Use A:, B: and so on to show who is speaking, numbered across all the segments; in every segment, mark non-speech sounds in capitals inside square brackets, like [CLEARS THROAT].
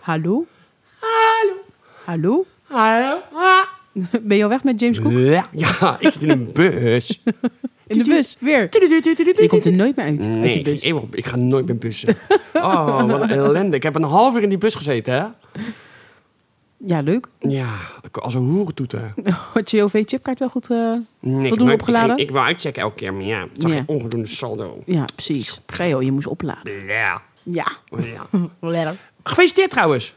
A: Hallo? Hallo? [LAUGHS]
B: Hallo?
A: Ben je al weg met James Cook?
B: Ja. Ja, ik zit in een bus.
A: In de bus, weer. Je komt er nooit meer uit, uit
B: Nee,
A: die
B: ik,
A: bus.
B: eeuwig op- ik ga nooit meer bussen. [LAUGHS] Oh, wat een ellende. Ik heb een half uur in die bus gezeten, hè?
A: Ja, leuk.
B: Ja, ik- als een hoerentoeter.
A: Had je je OV-chipkaart wel goed... eh,
B: Nee,
A: Voldoende
B: ik- ik-
A: opgeladen?
B: Ik, ik wil uitchecken elke keer, maar ja, het zag
A: Ja.
B: een onvoldoende saldo.
A: Ja, precies. Ga je al, je moest opladen.
B: Ja.
A: Ja.
B: ja.
A: Lekker.
B: Gefeliciteerd trouwens.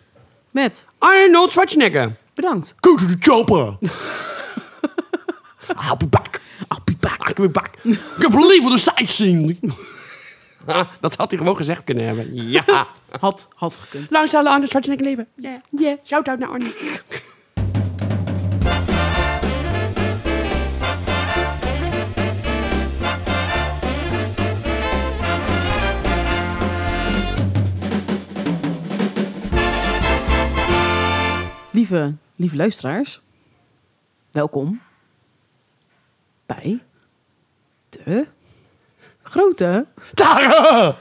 A: Met,
B: Arnold Schwarzenegger.
A: bedankt.
B: Go to the chopper. [LAUGHS] I'll be back.
A: Appie
B: I'll be back. Can't believe what the sightseeing. [LAUGHS] Dat had hij gewoon gezegd kunnen hebben. [LAUGHS] Ja.
A: Had, had gekund.
B: Langs alle Arnold Schwarzenegger leven. Ja.
A: Yeah.
B: Shout-out naar Arnold.
A: Lieve, lieve luisteraars, welkom bij de grote [LAUGHS]
B: Tara!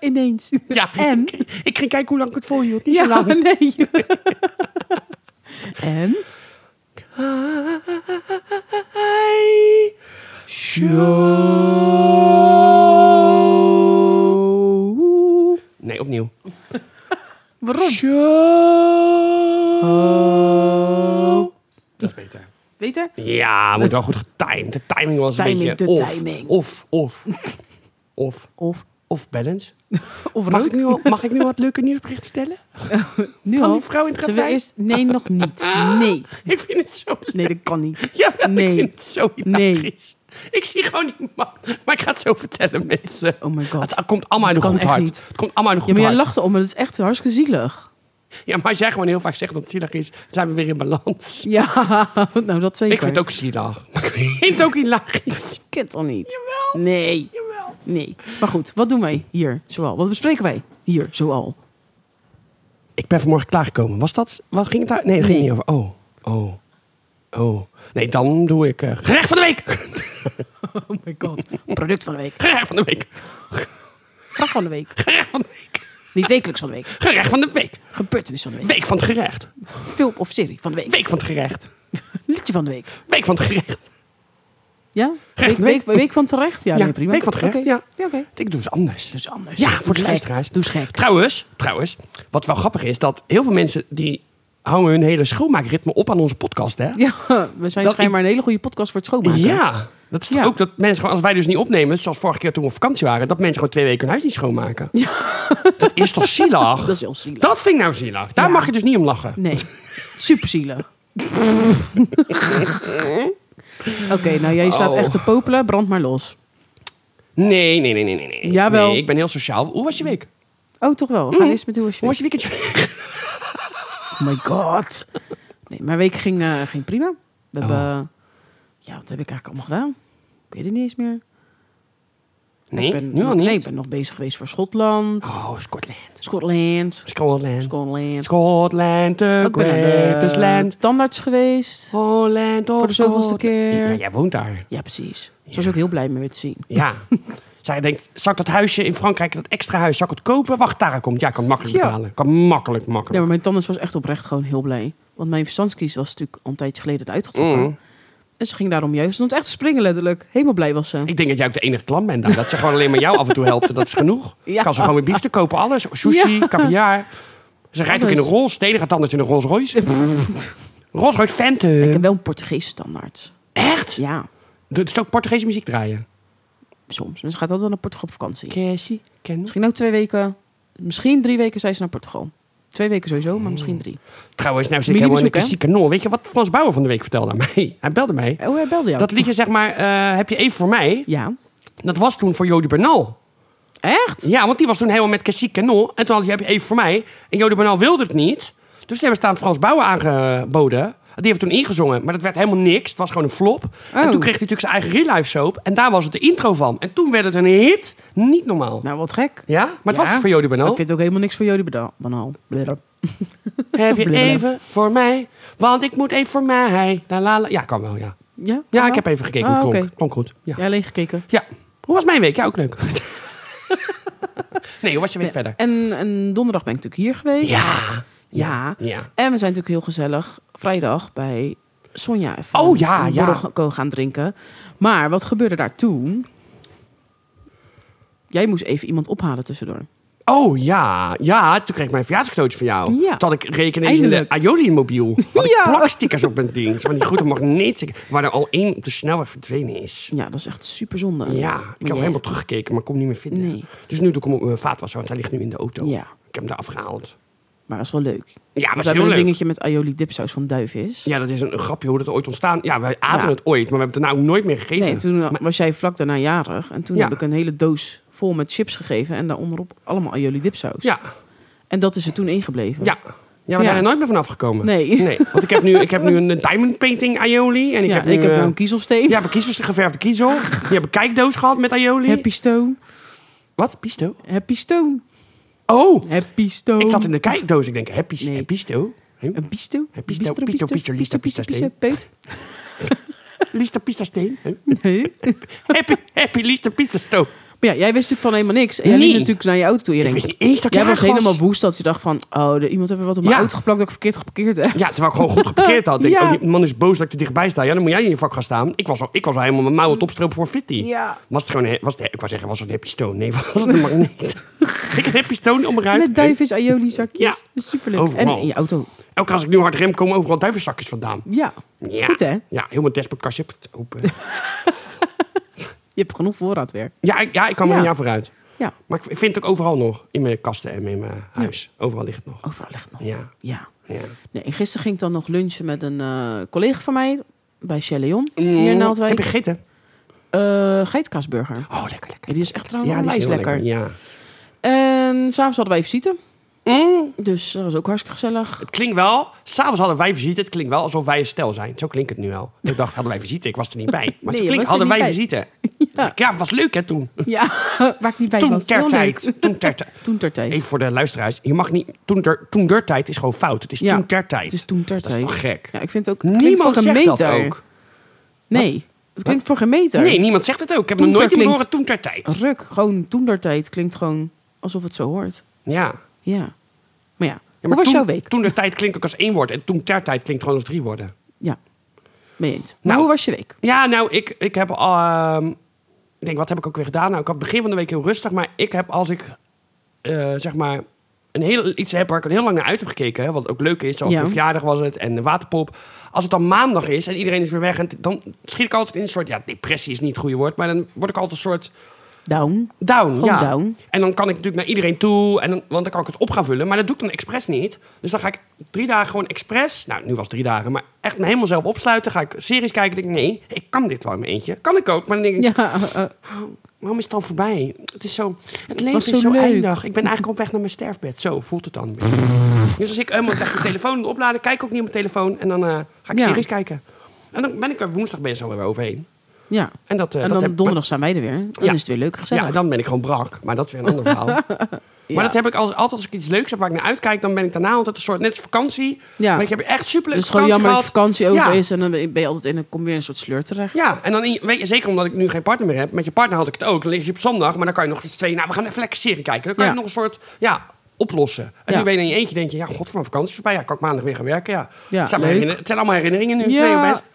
A: ineens.
B: [LAUGHS] Ja.
A: En?
B: Ik ging kijken hoe lang ik het volhield. Niet zo
A: Ja,
B: lang.
A: [LAUGHS] nee. en?
B: Hi. Show. Nee, opnieuw.
A: Waarom?
B: Show. Oh. Dat is beter.
A: Beter?
B: Ja, moet wel goed getimed. De timing was een
A: Timing,
B: beetje
A: de
B: off.
A: timing.
B: Of, [LAUGHS] of, of,
A: Of,
B: of balance.
A: of
B: Mag ik,
A: rood?
B: nu, al- mag ik nu wat leuke nieuwsberichten
A: [LAUGHS]
B: vertellen?
A: Nu
B: Van
A: al?
B: die vrouw in het
A: Zullen we
B: ravijn?
A: eerst? Nee, nog niet. [LAUGHS] Nee.
B: Ik vind het zo
A: Nee, dat kan niet.
B: Ja, ik
A: Nee.
B: vind het zo
A: Nee.
B: hilarisch. Ik zie gewoon die man. Maar ik ga het zo vertellen, mensen.
A: Oh my god.
B: Het komt allemaal uit een
A: kan
B: goed
A: echt
B: hart.
A: niet.
B: Het komt allemaal uit een
A: Ja,
B: goed
A: maar jij
B: hart.
A: lacht om, maar dat is echt hartstikke zielig.
B: Ja, maar als jij gewoon heel vaak zegt dat het zielig is, zijn we weer in balans.
A: Ja, [LAUGHS] nou dat zeker.
B: Ik vind het ook zielig. Maar ik vind het ook hilarisch.
A: Ik ken het al niet. Jawel. Nee. Jawel. Nee. Maar goed, wat doen wij hier zoal? Wat bespreken wij hier zoal?
B: Ik ben vanmorgen klaargekomen. Was dat... Wat ging het daar? Nee, dat ging niet over. Oh. Oh. Oh. Nee, dan doe ik... eh, gerecht van de week! [LAUGHS]
A: Oh my god. Product van de week.
B: Gerecht van de week!
A: Vraag van de week.
B: Gerecht van de week!
A: Niet wekelijks van de week.
B: Gerecht van de week!
A: Gebeurtenis van de week.
B: Week van het gerecht!
A: Film of serie van de week.
B: Week van het gerecht!
A: Liedje van de week.
B: Week van het gerecht!
A: Ja? Week,
B: Gerecht van de
A: week, week van terecht? Ja,
B: Ja,
A: nee, prima.
B: week van terecht,
A: Oké.
B: ja.
A: oké.
B: Ik doe eens anders.
A: Dus anders.
B: Ja, voor de
A: gek.
B: luisteraars.
A: Doe eens gek.
B: Trouwens, trouwens, wat wel grappig is, dat heel veel mensen die hangen hun hele schoonmaakritme op aan onze podcast, hè?
A: Ja, [LAUGHS] we zijn
B: Dat
A: schijnbaar een hele goede podcast voor het schoonmaken.
B: Ja, dat is toch
A: Ja.
B: ook dat mensen gewoon, als wij dus niet opnemen, zoals vorige keer toen we op vakantie waren, dat mensen gewoon twee weken hun huis niet schoonmaken. Dat is toch zielig?
A: [LAUGHS] Dat is heel zielig.
B: Dat vind ik nou zielig. Daar
A: Ja.
B: mag je dus niet om lachen.
A: [LAUGHS] Nee, super [LAUGHS] zielig. Oké, nou jij staat
B: Oh.
A: echt te popelen. Brand maar los.
B: Nee, nee, nee, nee, nee. nee.
A: Jawel.
B: Nee, ik ben heel sociaal. Hoe was je week?
A: Oh, toch wel. We gaan eerst met hoe was je
B: Hoe
A: week?
B: was je weekendje?
A: Oh my god. Oh. Nee, mijn week ging, eh, ging prima. We hebben... eh, Ja, wat heb ik eigenlijk allemaal gedaan? Ik weet het niet eens meer.
B: [LAUGHS] Nee,
A: Ik ben
B: nu al
A: nog-
B: niet.
A: Nee, ik ben nog bezig geweest voor Schotland.
B: Oh, Scotland.
A: Schotland.
B: Scotland.
A: Schotland.
B: Scotland, the
A: Ik ben naar de
B: greatest land.
A: tandarts geweest.
B: Holland of
A: Voor de zoveelste
B: Scotland.
A: keer.
B: Ja, jij woont daar.
A: Ja, precies. Ze was ook heel blij mee weer te zien. [LAUGHS]
B: Ja. Zij denkt, zal ik dat huisje in Frankrijk, dat extra huis, zal ik het kopen? Wacht, Tara komt. Ja, ik kan het makkelijk
A: Ja.
B: betalen. Kan makkelijk, makkelijk.
A: Ja, maar mijn tandarts was echt oprecht gewoon heel blij. Want mijn verstandskies was natuurlijk al een tijdje geleden eruit getrokken. En ze ging daarom juist. Ze stond echt te springen letterlijk. Helemaal blij was ze.
B: Ik denk dat jij ook de enige klant bent daar. Dat ze gewoon alleen maar jou af en toe helpt. en Dat is genoeg.
A: [LAUGHS] Ja.
B: Kan ze gewoon weer biefstuk kopen, alles. Sushi,
A: Ja.
B: caviar. Ze rijdt ook in
A: Alles.
B: een Rolls. De ene gaat anders in een Rolls
A: [LAUGHS]
B: Royce. Rolls Royce Phantom.
A: Ik heb wel een Portugees standaard.
B: Echt?
A: Ja,
B: Dat is ook Portugese muziek draaien.
A: soms. Mensen gaat altijd wel naar Portugal op vakantie.
B: Cassie, ken
A: eh, Misschien ook twee weken. Misschien drie weken zijn ze naar Portugal. Twee weken sowieso, maar misschien drie.
B: Trouwens, nou zit ik helemaal in de
A: Familiebezoek,
B: klassieke nol. Weet je wat Frans Bauer van de week vertelde aan mij? [LAUGHS] Hij belde mij.
A: Oh, hij belde jou.
B: Dat liedje, zeg maar, eh, heb je even voor mij.
A: Ja.
B: Dat was toen voor Jody Bernal.
A: Echt?
B: Ja, want die was toen helemaal met Cacique Canon. En toen had je, heb je even voor mij. En Jody Bernal wilde het niet. Dus toen hebben ze het aan Frans Bauer aangeboden. Die heeft toen ingezongen, maar dat werd helemaal niks. Het was gewoon een flop. En
A: Oh.
B: toen kreeg hij natuurlijk zijn eigen real life soap. En daar was het de intro van. En toen werd het een hit. Niet normaal.
A: Nou, wat gek.
B: ja, maar het
A: Ja.
B: was dus voor Jody
A: Ik
B: Bernal.
A: vind het ook helemaal niks voor jullie beda- banaal. Blurp. [LAUGHS]
B: Heb je
A: Blablabla.
B: even voor mij? Want ik moet even voor mij. La, la, la. Ja, kan wel, ja.
A: Ja?
B: Ja, ik heb even gekeken hoe het
A: Ah,
B: klonk.
A: oké.
B: Klonk goed. Ja.
A: Jij alleen gekeken.
B: ja. Hoe was mijn week? Ja, ook leuk. [LAUGHS] Nee, hoe was je week verder?
A: En, en donderdag ben ik natuurlijk hier geweest.
B: Ja.
A: Ja.
B: Ja.
A: En we zijn natuurlijk heel gezellig vrijdag bij Sonja even
B: Oh, ja,
A: een
B: ja.
A: borrelko gaan drinken. Maar wat gebeurde daar toen? Jij moest even iemand ophalen tussendoor.
B: Oh ja, ja, toen kreeg ik mijn verjaardagscadeautje van jou.
A: Ja.
B: Toen had ik rekening in de
A: Eindelijk.
B: Aioli-mobiel. Had ik
A: Ja.
B: plakstickers op mijn ding. Van die grote magneten waar er al één op de snelweg verdwenen is.
A: Ja, dat is echt super zonde.
B: Ja, ik heb
A: jij-
B: helemaal teruggekeken, maar kon hem niet meer vinden.
A: Nee.
B: Dus nu doe ik hem op mijn vaatwasser, want hij ligt nu in de auto.
A: Ja.
B: Ik heb hem daar afgehaald.
A: Maar dat is wel leuk.
B: Ja,
A: We
B: was
A: hebben
B: heel
A: een
B: leuk.
A: dingetje met aioli dipsaus van duif is.
B: Ja, dat is een, een grapje hoe dat ooit ontstaan. Ja, wij aten
A: Ja.
B: het ooit, maar we hebben het daarna ook nooit meer gegeten.
A: Nee, toen eh, was jij vlak daarna jarig. En toen
B: Ja.
A: heb ik een hele doos vol met chips gegeven. En daaronderop allemaal aioli dipsaus.
B: Ja,
A: En dat is er toen ingebleven.
B: ja. Ja, we
A: Ja.
B: zijn er nooit meer vanaf gekomen.
A: Nee.
B: Nee, want ik heb nu, ik heb nu een diamond painting aioli. En ik
A: Ja,
B: heb nu, eh,
A: nou een kiezelsteen.
B: Ja, mijn kiezels, een geverfde kiezel. Die hebben kijkdoos gehad met aioli.
A: Happy Stone.
B: Wat? Pisto?
A: Happy Stone.
B: Oh,
A: Happy Stone.
B: ik zat in de kijkdoos. Ik denk, happy,
A: Nee.
B: happy Pisto? Hè?
A: Een pisto?
B: Een pisto, pisto, pisto, listo, pista, steen.
A: peet.
B: Lista Pista Steen. Hè?
A: Nee.
B: Happy, happy Lista Pista Steen.
A: Maar ja, jij wist natuurlijk van helemaal niks. En jij
B: Nee.
A: liep natuurlijk naar je auto toe. Je
B: Ik
A: denkt,
B: wist niet eens dat ik
A: jij was
B: jarig
A: helemaal woest dat je dacht van... Oh, de, iemand heeft me wat op mijn
B: Ja.
A: auto geplakt dat ik verkeerd geparkeerd heb.
B: Ja, terwijl ik gewoon goed geparkeerd
A: [LAUGHS]
B: had. Denk, ik,
A: Ja.
B: oh, die man is boos dat ik er dichtbij sta. Ja, dan moet jij in je vak gaan staan. Ik was al, ik was al helemaal mijn mouwen opstropen voor Fitty.
A: Ja.
B: Was het gewoon, he- was het, ik wou zeggen, was het een happy stone? Nee, [LAUGHS] was het een
A: [LAUGHS]
B: magneet? ik een happy stone om eruit.
A: Met duifjes, aioli zakjes.
B: Ja.
A: Superleuk.
B: Overal.
A: En in je auto.
B: Elke keer als ik nu hard rem, komen overal duivenzakjes vandaan.
A: Ja.
B: Ja.
A: Goed, hè?
B: Ja, heel mijn dashboard kastje. pst, open.
A: Je hebt genoeg voorraadwerk.
B: ja, ik, ja, ik kan er
A: Ja.
B: een jaar vooruit.
A: Ja.
B: Maar ik, ik vind het ook overal nog. In mijn kasten en in mijn huis. Overal ligt het nog.
A: Overal ligt het nog.
B: Ja,
A: Ja.
B: ja.
A: Nee, en gisteren ging ik dan nog lunchen met een eh, collega van mij... bij Chez Leon,
B: Mm,
A: hier in
B: Heb
A: Naaldwijk.
B: je gegeten?
A: Eh, geitkaasburger.
B: Oh, lekker, lekker.
A: Ja, die is echt trouwens
B: Ja, die is
A: onwijs
B: heel
A: lekker.
B: lekker. Ja.
A: En s'avonds hadden wij even zitten.
B: Mm.
A: Dus dat was ook hartstikke gezellig.
B: Het klinkt wel, s'avonds hadden wij visite, het klinkt wel alsof wij een stel zijn. Zo klinkt het nu wel. Ik dacht, hadden wij visite, ik was er niet bij. Maar
A: Nee,
B: het
A: je
B: klinkt,
A: was er
B: hadden wij
A: niet
B: visite.
A: [LAUGHS]
B: Ja. het was leuk hè toen.
A: Ja, [LAUGHS] waar ik niet bij
B: Toen
A: was.
B: ter
A: Heel
B: tijd.
A: leuk.
B: Toen ter
A: [LAUGHS]
B: tijd.
A: Toen ter tijd.
B: Even voor de luisteraars, je mag niet, toen ter, toen der tijd is gewoon fout. Het is
A: Ja,
B: toen ter tijd.
A: Het is toen ter
B: dat is
A: tijd.
B: toch gek?
A: Ja, ik vind het ook... het klinkt
B: Niemand
A: voor geen
B: zegt dat
A: meter.
B: ook.
A: Nee, het klinkt voor geen meter.
B: Nee, niemand zegt het ook. Ik heb
A: Toen
B: nog nooit
A: ter
B: iemand
A: klinkt-
B: horen toen ter tijd.
A: Ruk, gewoon toen der tijd klinkt gewoon alsof het zo hoort.
B: Ja.
A: Ja. Maar ja,
B: Ja,
A: hoe was
B: toen,
A: jouw week?
B: Toen der tijd klinkt ook als één woord en toen ter tijd klinkt gewoon als drie woorden.
A: Ja, mee eens. Maar
B: Nou.
A: hoe was je week?
B: Ja, nou, ik, ik heb... ehm, ik denk, wat heb ik ook weer gedaan? Nou, ik had het begin van de week heel rustig. Maar ik heb, als ik, eh, zeg maar, een heel, iets heb waar ik er heel lang naar uit heb gekeken... Hè, wat ook leuk is, zoals
A: Ja.
B: mijn verjaardag was het en de waterpop. Als het dan maandag is en iedereen is weer weg... En t- dan schiet ik altijd in een soort... Ja, depressie is niet het goede woord, maar dan word ik altijd een soort...
A: Down.
B: Down, ja.
A: down.
B: En dan kan ik natuurlijk naar iedereen toe, en dan, want dan kan ik het op gaan vullen. Maar dat doe ik dan expres niet. Dus dan ga ik drie dagen gewoon expres, nou nu was het drie dagen, maar echt me helemaal zelf opsluiten. Ga ik series kijken, denk ik, nee, ik kan dit wel in mijn eentje. Kan ik ook, maar dan denk ik,
A: Ja, eh, eh,
B: waarom is het al voorbij? Het is zo, het leven
A: was
B: is
A: zo
B: zo
A: leuk.
B: eindig. Ik ben eigenlijk op weg naar mijn sterfbed. Zo voelt het
A: [LAUGHS]
B: dan. dus als ik helemaal echt mijn telefoon opladen, kijk ook niet op mijn telefoon en dan eh, ga ik
A: Ja.
B: series kijken. En dan ben ik er woensdag ben je zo weer overheen.
A: ja.
B: En, dat, eh,
A: En
B: dat
A: dan
B: heb-
A: donderdag zijn wij er weer. Dan
B: Ja.
A: is het weer leuk gezellig. Dus
B: ja, dan ben ik gewoon brak. Maar dat is weer een ander
A: [LAUGHS]
B: verhaal. Maar dat heb ik als, altijd als ik iets leuks heb waar ik naar uitkijk, dan ben ik daarna altijd een soort net als vakantie.
A: Ja.
B: Weet je, heb je echt superleuk
A: Het is gewoon
B: vakantie
A: jammer dat je
B: gehad.
A: vakantie over
B: Ja.
A: is en dan ben je altijd in een, kom je in een soort sleur terecht.
B: Ja, en dan in- weet je, zeker omdat ik nu geen partner meer heb. Met je partner had ik het ook. Dan lig je op zondag, maar dan kan je nog eens twee. Nou, we gaan even lekker serie kijken. Dan kan je
A: Ja.
B: nog een soort ja, oplossen. En
A: Ja.
B: nu ben je in je eentje, denk je, ja, god, van vakantie is voorbij. Ja, kan ik maandag weer gaan werken. Ja,
A: Ja,
B: het, zijn maar
A: leuk.
B: herinner- het zijn allemaal herinneringen nu.
A: Ja.
B: Nee, joh, best.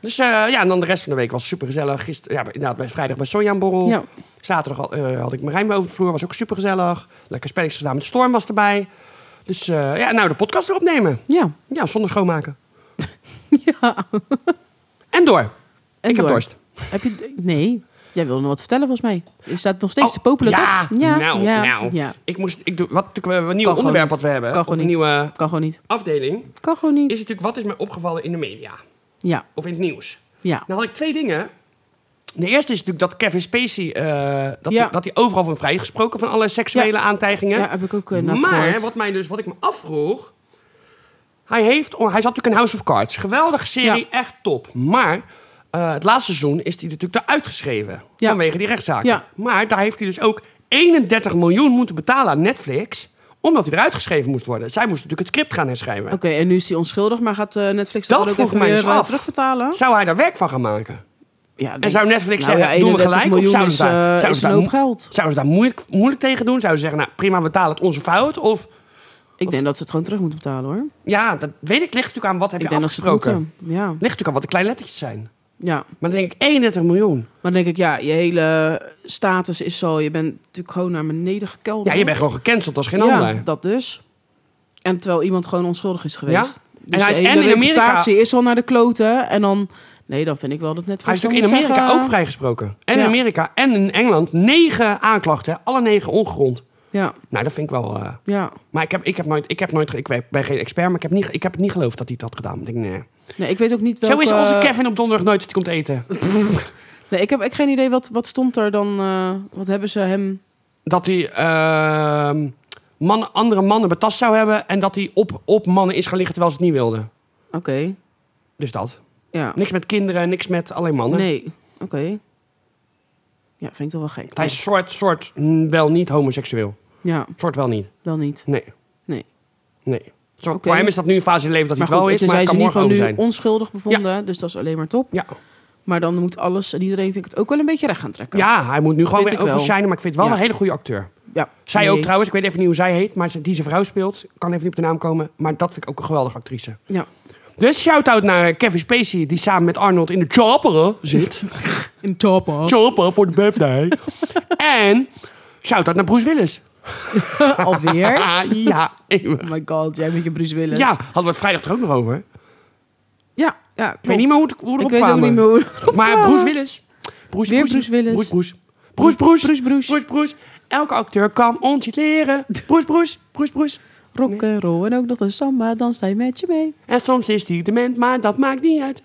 B: Dus eh, ja, en dan de rest van de week was super gezellig. Gisteren, ja, inderdaad, bij vrijdag bij Sonja aan borrel.
A: Ja.
B: Zaterdag had, eh, had ik Marijn weer over de vloer. Was ook super gezellig. Lekker spelletjes gedaan met Storm was erbij. Dus eh, ja, nou de podcast weer opnemen.
A: Ja.
B: Ja, zonder
A: [LAUGHS]
B: schoonmaken. En door.
A: En
B: ik
A: door.
B: heb dorst.
A: Heb je, nee, jij wilde nog wat vertellen volgens mij. Je staat nog steeds
B: Oh,
A: te popelen,
B: ja,
A: toch?
B: nou,
A: ja,
B: nou.
A: ja.
B: Ik moest, ik doe, wat natuurlijk een nieuw
A: gewoon
B: onderwerp
A: niet.
B: wat we hebben,
A: Kan
B: of een
A: gewoon niet.
B: nieuwe
A: Kan gewoon niet.
B: afdeling, is
A: Kan gewoon niet.
B: natuurlijk wat is mij opgevallen in de media
A: Ja,
B: of in het nieuws.
A: ja.
B: Nou had ik twee dingen. De eerste is natuurlijk dat Kevin Spacey, eh, dat,
A: Ja.
B: hij, dat hij overal van vrijgesproken van alle seksuele aantijgingen.
A: Ja, heb ik ook eh, net
B: maar
A: gehoord.
B: wat, mij dus, wat ik me afvroeg, hij, heeft, hij zat natuurlijk in House of Cards, geweldige serie, echt top. Maar eh, het laatste seizoen is hij natuurlijk eruit geschreven
A: Ja.
B: vanwege die rechtszaken.
A: Ja.
B: Maar daar heeft hij dus ook 31 miljoen moeten betalen aan Netflix, omdat hij eruit geschreven moest worden. Zij moesten natuurlijk het script gaan herschrijven.
A: Oké, en nu is hij onschuldig, maar gaat eh, Netflix
B: Dat
A: dan ook
B: vroeg
A: even
B: mij
A: weer
B: eens
A: eh,
B: af.
A: terugbetalen?
B: Zou hij daar werk van gaan maken?
A: Ja,
B: En
A: denk-
B: zou Netflix
A: nou
B: zeggen,
A: ja,
B: doen we
A: 31
B: gelijk? Of
A: miljoen
B: zouden ze,
A: is, eh,
B: daar, zouden
A: is
B: ze
A: een
B: daar
A: hoop
B: mo-
A: geld.
B: zouden ze daar moeilijk, moeilijk tegen doen? Zouden ze zeggen, nou prima, we betalen het onze fout? Of
A: Ik denk dat ze het gewoon terug moeten betalen, hoor.
B: ja, dat weet ik, ligt natuurlijk aan wat heb
A: Ik
B: je
A: denk dat ze het
B: afgesproken.
A: moeten. Ja,
B: Ligt natuurlijk aan wat de kleine lettertjes zijn.
A: ja.
B: Maar dan denk ik 31 miljoen.
A: Maar dan denk ik, ja, je hele status is zo... Je bent natuurlijk gewoon naar beneden gekelderd.
B: Ja, je bent gewoon gecanceld als geen
A: Ja,
B: ander.
A: dat dus. En terwijl iemand gewoon onschuldig is geweest. Dus
B: hij is
A: de hele
B: en in Amerika-
A: reputatie is al naar de kloten. En dan... Nee, dan vind ik wel dat Netflix...
B: Hij is
A: dan
B: natuurlijk in
A: moet
B: Amerika
A: zeggen,
B: ook vrijgesproken. En in
A: Ja.
B: Amerika en in Engeland negen aanklachten, hè. alle negen ongegrond.
A: Ja,
B: Nou, dat vind ik wel. eh,
A: ja.
B: maar ik heb, ik heb nooit, ik heb nooit, ge- ik ben geen expert, maar ik heb niet, ik heb het niet geloofd dat hij dat had gedaan. Ik denk, nee.
A: Nee, ik weet ook eh, niet welke...
B: Zo is onze Kevin op donderdag nooit dat hij komt eten.
A: Nee, ik heb echt geen idee wat, wat stond er dan... eh, wat hebben ze hem...
B: dat hij ehm, mannen, andere mannen betast zou hebben en dat hij op, op mannen is gaan liggen terwijl ze het niet wilden.
A: Oké,
B: Dus dat.
A: ja.
B: Niks met kinderen, niks met alleen mannen.
A: Nee, oké. Ja, vind ik toch wel gek.
B: Hij is soort, soort mm, wel niet homoseksueel.
A: Ja,
B: Soort wel niet.
A: dan niet.
B: Nee.
A: Nee.
B: Nee. Zo,
A: Oké.
B: Voor hem is dat nu een fase in het leven dat
A: Maar
B: hij het
A: goed,
B: wel
A: het
B: is,
A: is,
B: maar
A: hij
B: het
A: is
B: kan morgen
A: in ieder geval
B: anders
A: nu
B: zijn.
A: onschuldig bevonden, dus dat is alleen maar top.
B: Ja.
A: Maar dan moet alles en iedereen vind ik het ook wel een beetje recht gaan trekken.
B: ja, hij moet nu gewoon
A: vind
B: weer
A: ik wel.
B: overal shinen, maar ik vind het wel
A: Ja.
B: een hele goede acteur.
A: ja
B: Zij
A: mee
B: ook
A: eens.
B: trouwens, ik weet even niet hoe zij heet, maar ze- die zijn vrouw speelt. Ik kan even niet op de naam komen, maar dat vind ik ook een geweldige actrice.
A: Ja,
B: Dus shout-out naar Kevin Spacey, die samen met Arnold in de chopper
A: [LAUGHS]
B: zit.
A: in toppen.
B: Chopper voor de birthday. [LAUGHS] en shout-out naar Bruce Willis.
A: Alweer.
B: Ah, [LAUGHS] ja, eeuwig.
A: Oh my god, jij met je Bruce Willis.
B: Ja, hadden we het vrijdag er ook nog over.
A: ja, ja
B: Ik weet niet meer hoe het hoe we erop
A: Ik weet ook
B: kwamen.
A: niet meer hoe...
B: Maar Bruce Willis. Bruce,
A: Weer Bruce Willis.
B: Bruce, Bruce. Bruce, Bruce.
A: Bruce, Bruce.
B: Bruce, Bruce. Elke acteur kan ons iets leren. Bruce, Bruce. Bruce, Bruce.
A: Rock and roll en ook nog de samba, danst hij met je mee.
B: En soms is hij dement, maar dat maakt niet uit.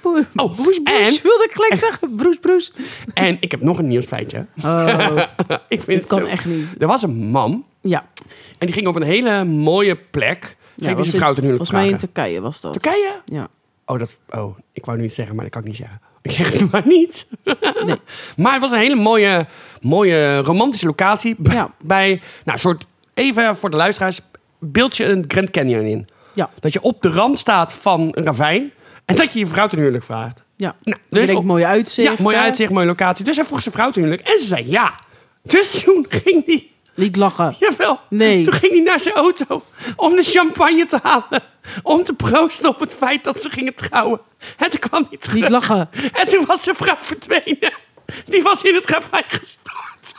A: Boe-
B: Oh,
A: Bruce, Bruce,
B: en- Oh,
A: wilde ik gelijk zeggen. Bruce, Bruce. [LAUGHS]
B: En ik heb nog een nieuwsfeitje.
A: Oh,
B: Ik vind
A: dit
B: het
A: kan
B: zo-
A: echt niet.
B: Er was een man
A: Ja.
B: en die ging op een hele mooie plek. Ja, ging
A: was
B: was
A: in-
B: zijn vrouw ten huwelijk
A: Volgens mij in
B: vragen.
A: Turkije was dat.
B: Turkije?
A: Ja.
B: Oh, dat, oh, ik wou nu iets zeggen, maar dat kan ik niet zeggen. [LAUGHS] Ik zeg het maar niet. [LAUGHS] maar het was een hele mooie, mooie romantische locatie. b-
A: Ja.
B: Bij, nou, een soort, even voor de luisteraars, beeld je een Grand Canyon in.
A: Ja.
B: Dat je op de rand staat van een ravijn en dat je je vrouw ten huwelijk vraagt.
A: Ja.
B: Nou,
A: Je denkt,
B: op-
A: mooi uitzicht.
B: Ja, mooi
A: hè?
B: uitzicht, mooie locatie. Dus hij vroeg zijn vrouw ten huwelijk en ze zei ja. Dus [LAUGHS] toen ging hij,
A: Niet lachen.
B: jawel.
A: Nee.
B: Toen ging hij naar zijn auto om de champagne te halen. Om te proosten op het feit dat ze gingen trouwen. En toen kwam hij terug.
A: Niet lachen.
B: En toen was zijn vrouw verdwenen. Die was in het ravijn gestort.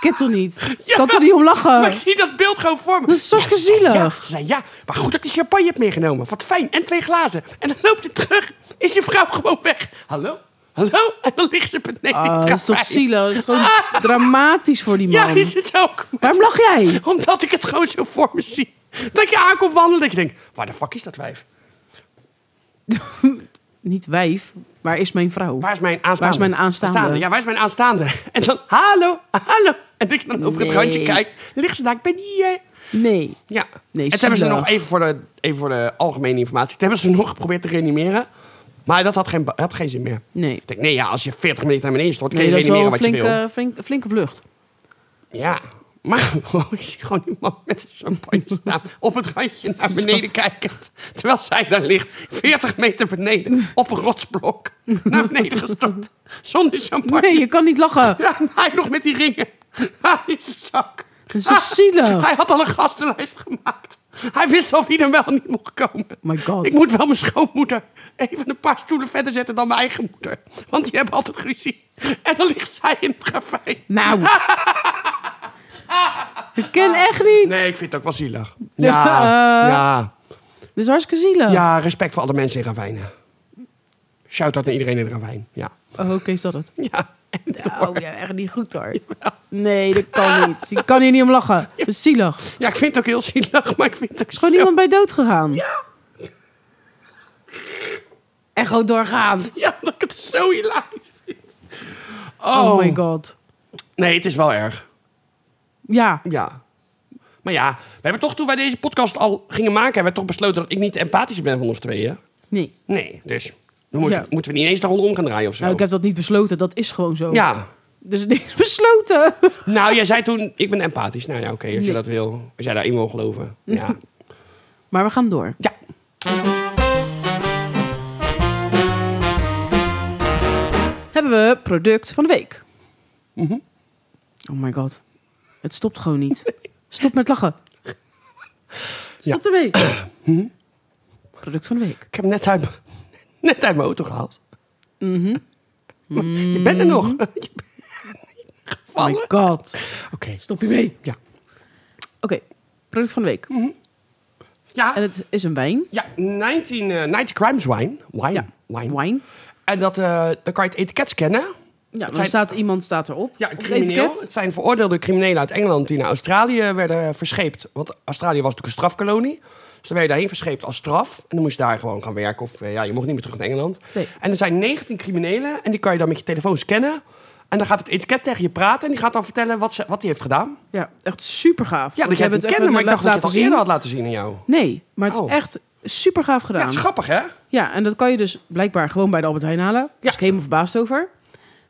A: Ket toch niet?
B: Ja.
A: Kan toch niet om lachen?
B: Maar ik zie dat beeld gewoon voor me.
A: Dat is hartstikke
B: ze zei Ja,
A: zielig.
B: ze zei ja, maar goed dat ik de champagne heb meegenomen. Wat fijn. En twee glazen. En dan loopt hij terug. Is je vrouw gewoon weg. Hallo? Hallo? En dan ligt ze beneden in
A: Ah,
B: het
A: dat is toch
B: ravijn.
A: zielig? Dat is gewoon dramatisch voor die
B: Ah. Ja,
A: man.
B: is het ook.
A: Waarom lach jij?
B: [LAUGHS] Omdat ik het gewoon zo voor me zie. Dat je aankomt wandelen. Dat je denkt, waar de fuck is dat wijf?
A: Niet wijf. Waar is mijn vrouw?
B: Waar is mijn aanstaande?
A: Waar is mijn aanstaande?
B: Ja, waar is mijn aanstaande? En dan, hallo, hallo. En dat je dan over
A: Nee.
B: het randje kijkt. Ligt ze daar, ik ben hier.
A: Nee.
B: Ja.
A: Nee,
B: en toen hebben ze
A: zielig.
B: nog, even voor, de, even voor de algemene informatie, toen hebben ze nog geprobeerd te reanimeren. Maar dat had geen, ba- had geen zin meer.
A: Nee.
B: Ik denk, nee ja, als je 40 minuten naar beneden stort, kun
A: Nee,
B: je
A: dat is wel
B: reanimeren
A: een
B: wat je wil.
A: flinke, flink- flinke vlucht.
B: Ja. Maar [LAUGHS] gewoon, ik zie gewoon die man met een champagne staan. Op het randje naar beneden kijkend. Terwijl zij daar ligt. 40 meter beneden. Op een rotsblok. Naar beneden gestort. Zonder champagne.
A: Nee, je kan niet [LAUGHS] lachen.
B: Ja, en hij nog met die ringen. Hij is een zak.
A: Dat is toch zielig?
B: Hij had al een gastenlijst gemaakt. Hij wist of hij er wel niet mocht komen.
A: Oh My god.
B: Ik moet wel mijn schoonmoeder even een paar stoelen verder zetten dan mijn eigen moeder. Want die hebben altijd ruzie. En dan ligt zij in het café.
A: Nou. Ik ken echt niet.
B: Nee, ik vind het ook wel
A: [LAUGHS]
B: zielig.
A: Ja.
B: Ja,
A: Eh.
B: ja,
A: Dit is hartstikke zielig.
B: ja, respect voor alle mensen in Ravijnen. Shout-out naar iedereen in Ravijn. Ja. [LAUGHS]
A: Oh, oké, is dat het?
B: ja. En
A: Oh, ja, echt niet goed [LAUGHS] hoor. Nee, dat [LAUGHS] kan niet. Je kan hier niet om lachen. Dat is zielig. Er
B: Ja, ik vind het ook heel zielig, maar ik vind het ook
A: is gewoon
B: zo-
A: iemand bij dood gegaan. Ja. En gewoon doorgaan.
B: Ja, dat ik het zo hilarisch vind.
A: Oh. my god.
B: Nee, het is wel erg.
A: Ja,
B: Ja. Maar ja, we hebben toch toen wij deze podcast al gingen maken, hebben we toch besloten dat ik niet de empathische ben van ons tweeën.
A: nee.
B: Nee, dus dan moet-
A: Ja.
B: moeten we niet eens de rol om gaan draaien of zo.
A: Nou, ik heb dat niet besloten. Dat is gewoon zo.
B: Ja.
A: Dus het is [LAUGHS] besloten.
B: Nou, jij zei toen, ik ben empathisch. Nou ja, oké, als
A: Nee.
B: je dat wil. Als jij daarin wil geloven. Ja.
A: Maar we gaan door.
B: ja.
A: hebben we product van de week.
B: Mhm.
A: Oh my god. Het stopt gewoon
B: [LAUGHS]
A: niet. Stop met lachen. Stop
B: [CLEARS THROAT]
A: ermee.
B: Mhm.
A: Product van de week.
B: Ik heb hem net uit, m- [LAUGHS] net uit mijn auto gehaald.
A: Mhm.
B: Maar [LAUGHS] Je bent er nog. [LAUGHS] Je bent
A: Oh my
B: gevallen.
A: god.
B: Oké.
A: Stop je mee.
B: Ja.
A: Oké, product van de week.
B: Mhm. Ja,
A: En het is een wijn.
B: ja 19, eh, 90 Crimes wine. Wine.
A: Ja.
B: wine.
A: Wine.
B: En dat, eh, dan kan je het etiket scannen.
A: Ja, maar
B: zijn-
A: er staat, iemand staat erop.
B: Ja,
A: op het
B: crimineel.
A: etiket.
B: Het zijn veroordeelde criminelen uit Engeland die naar Australië werden verscheept. Want Australië was natuurlijk een strafkolonie. Dus dan werd je daarheen verscheept als straf. En dan moest je daar gewoon gaan werken. Of eh, ja, je mocht niet meer terug naar Engeland.
A: Nee.
B: En er zijn 19 criminelen. En die kan je dan met je telefoon scannen. En dan gaat het etiket tegen je praten. En die gaat dan vertellen wat, ze, wat die heeft gedaan.
A: Ja, echt super gaaf.
B: Ja, dat jij het kende, maar ik dacht dat je het al eerder had laten zien aan jou.
A: Nee, maar het is
B: Oh.
A: echt super gaaf
B: Ja,
A: gedaan.
B: het is grappig, hè?
A: Ja, en dat kan je dus blijkbaar gewoon bij de Albert Heijn halen. Daar was ik helemaal verbaasd over.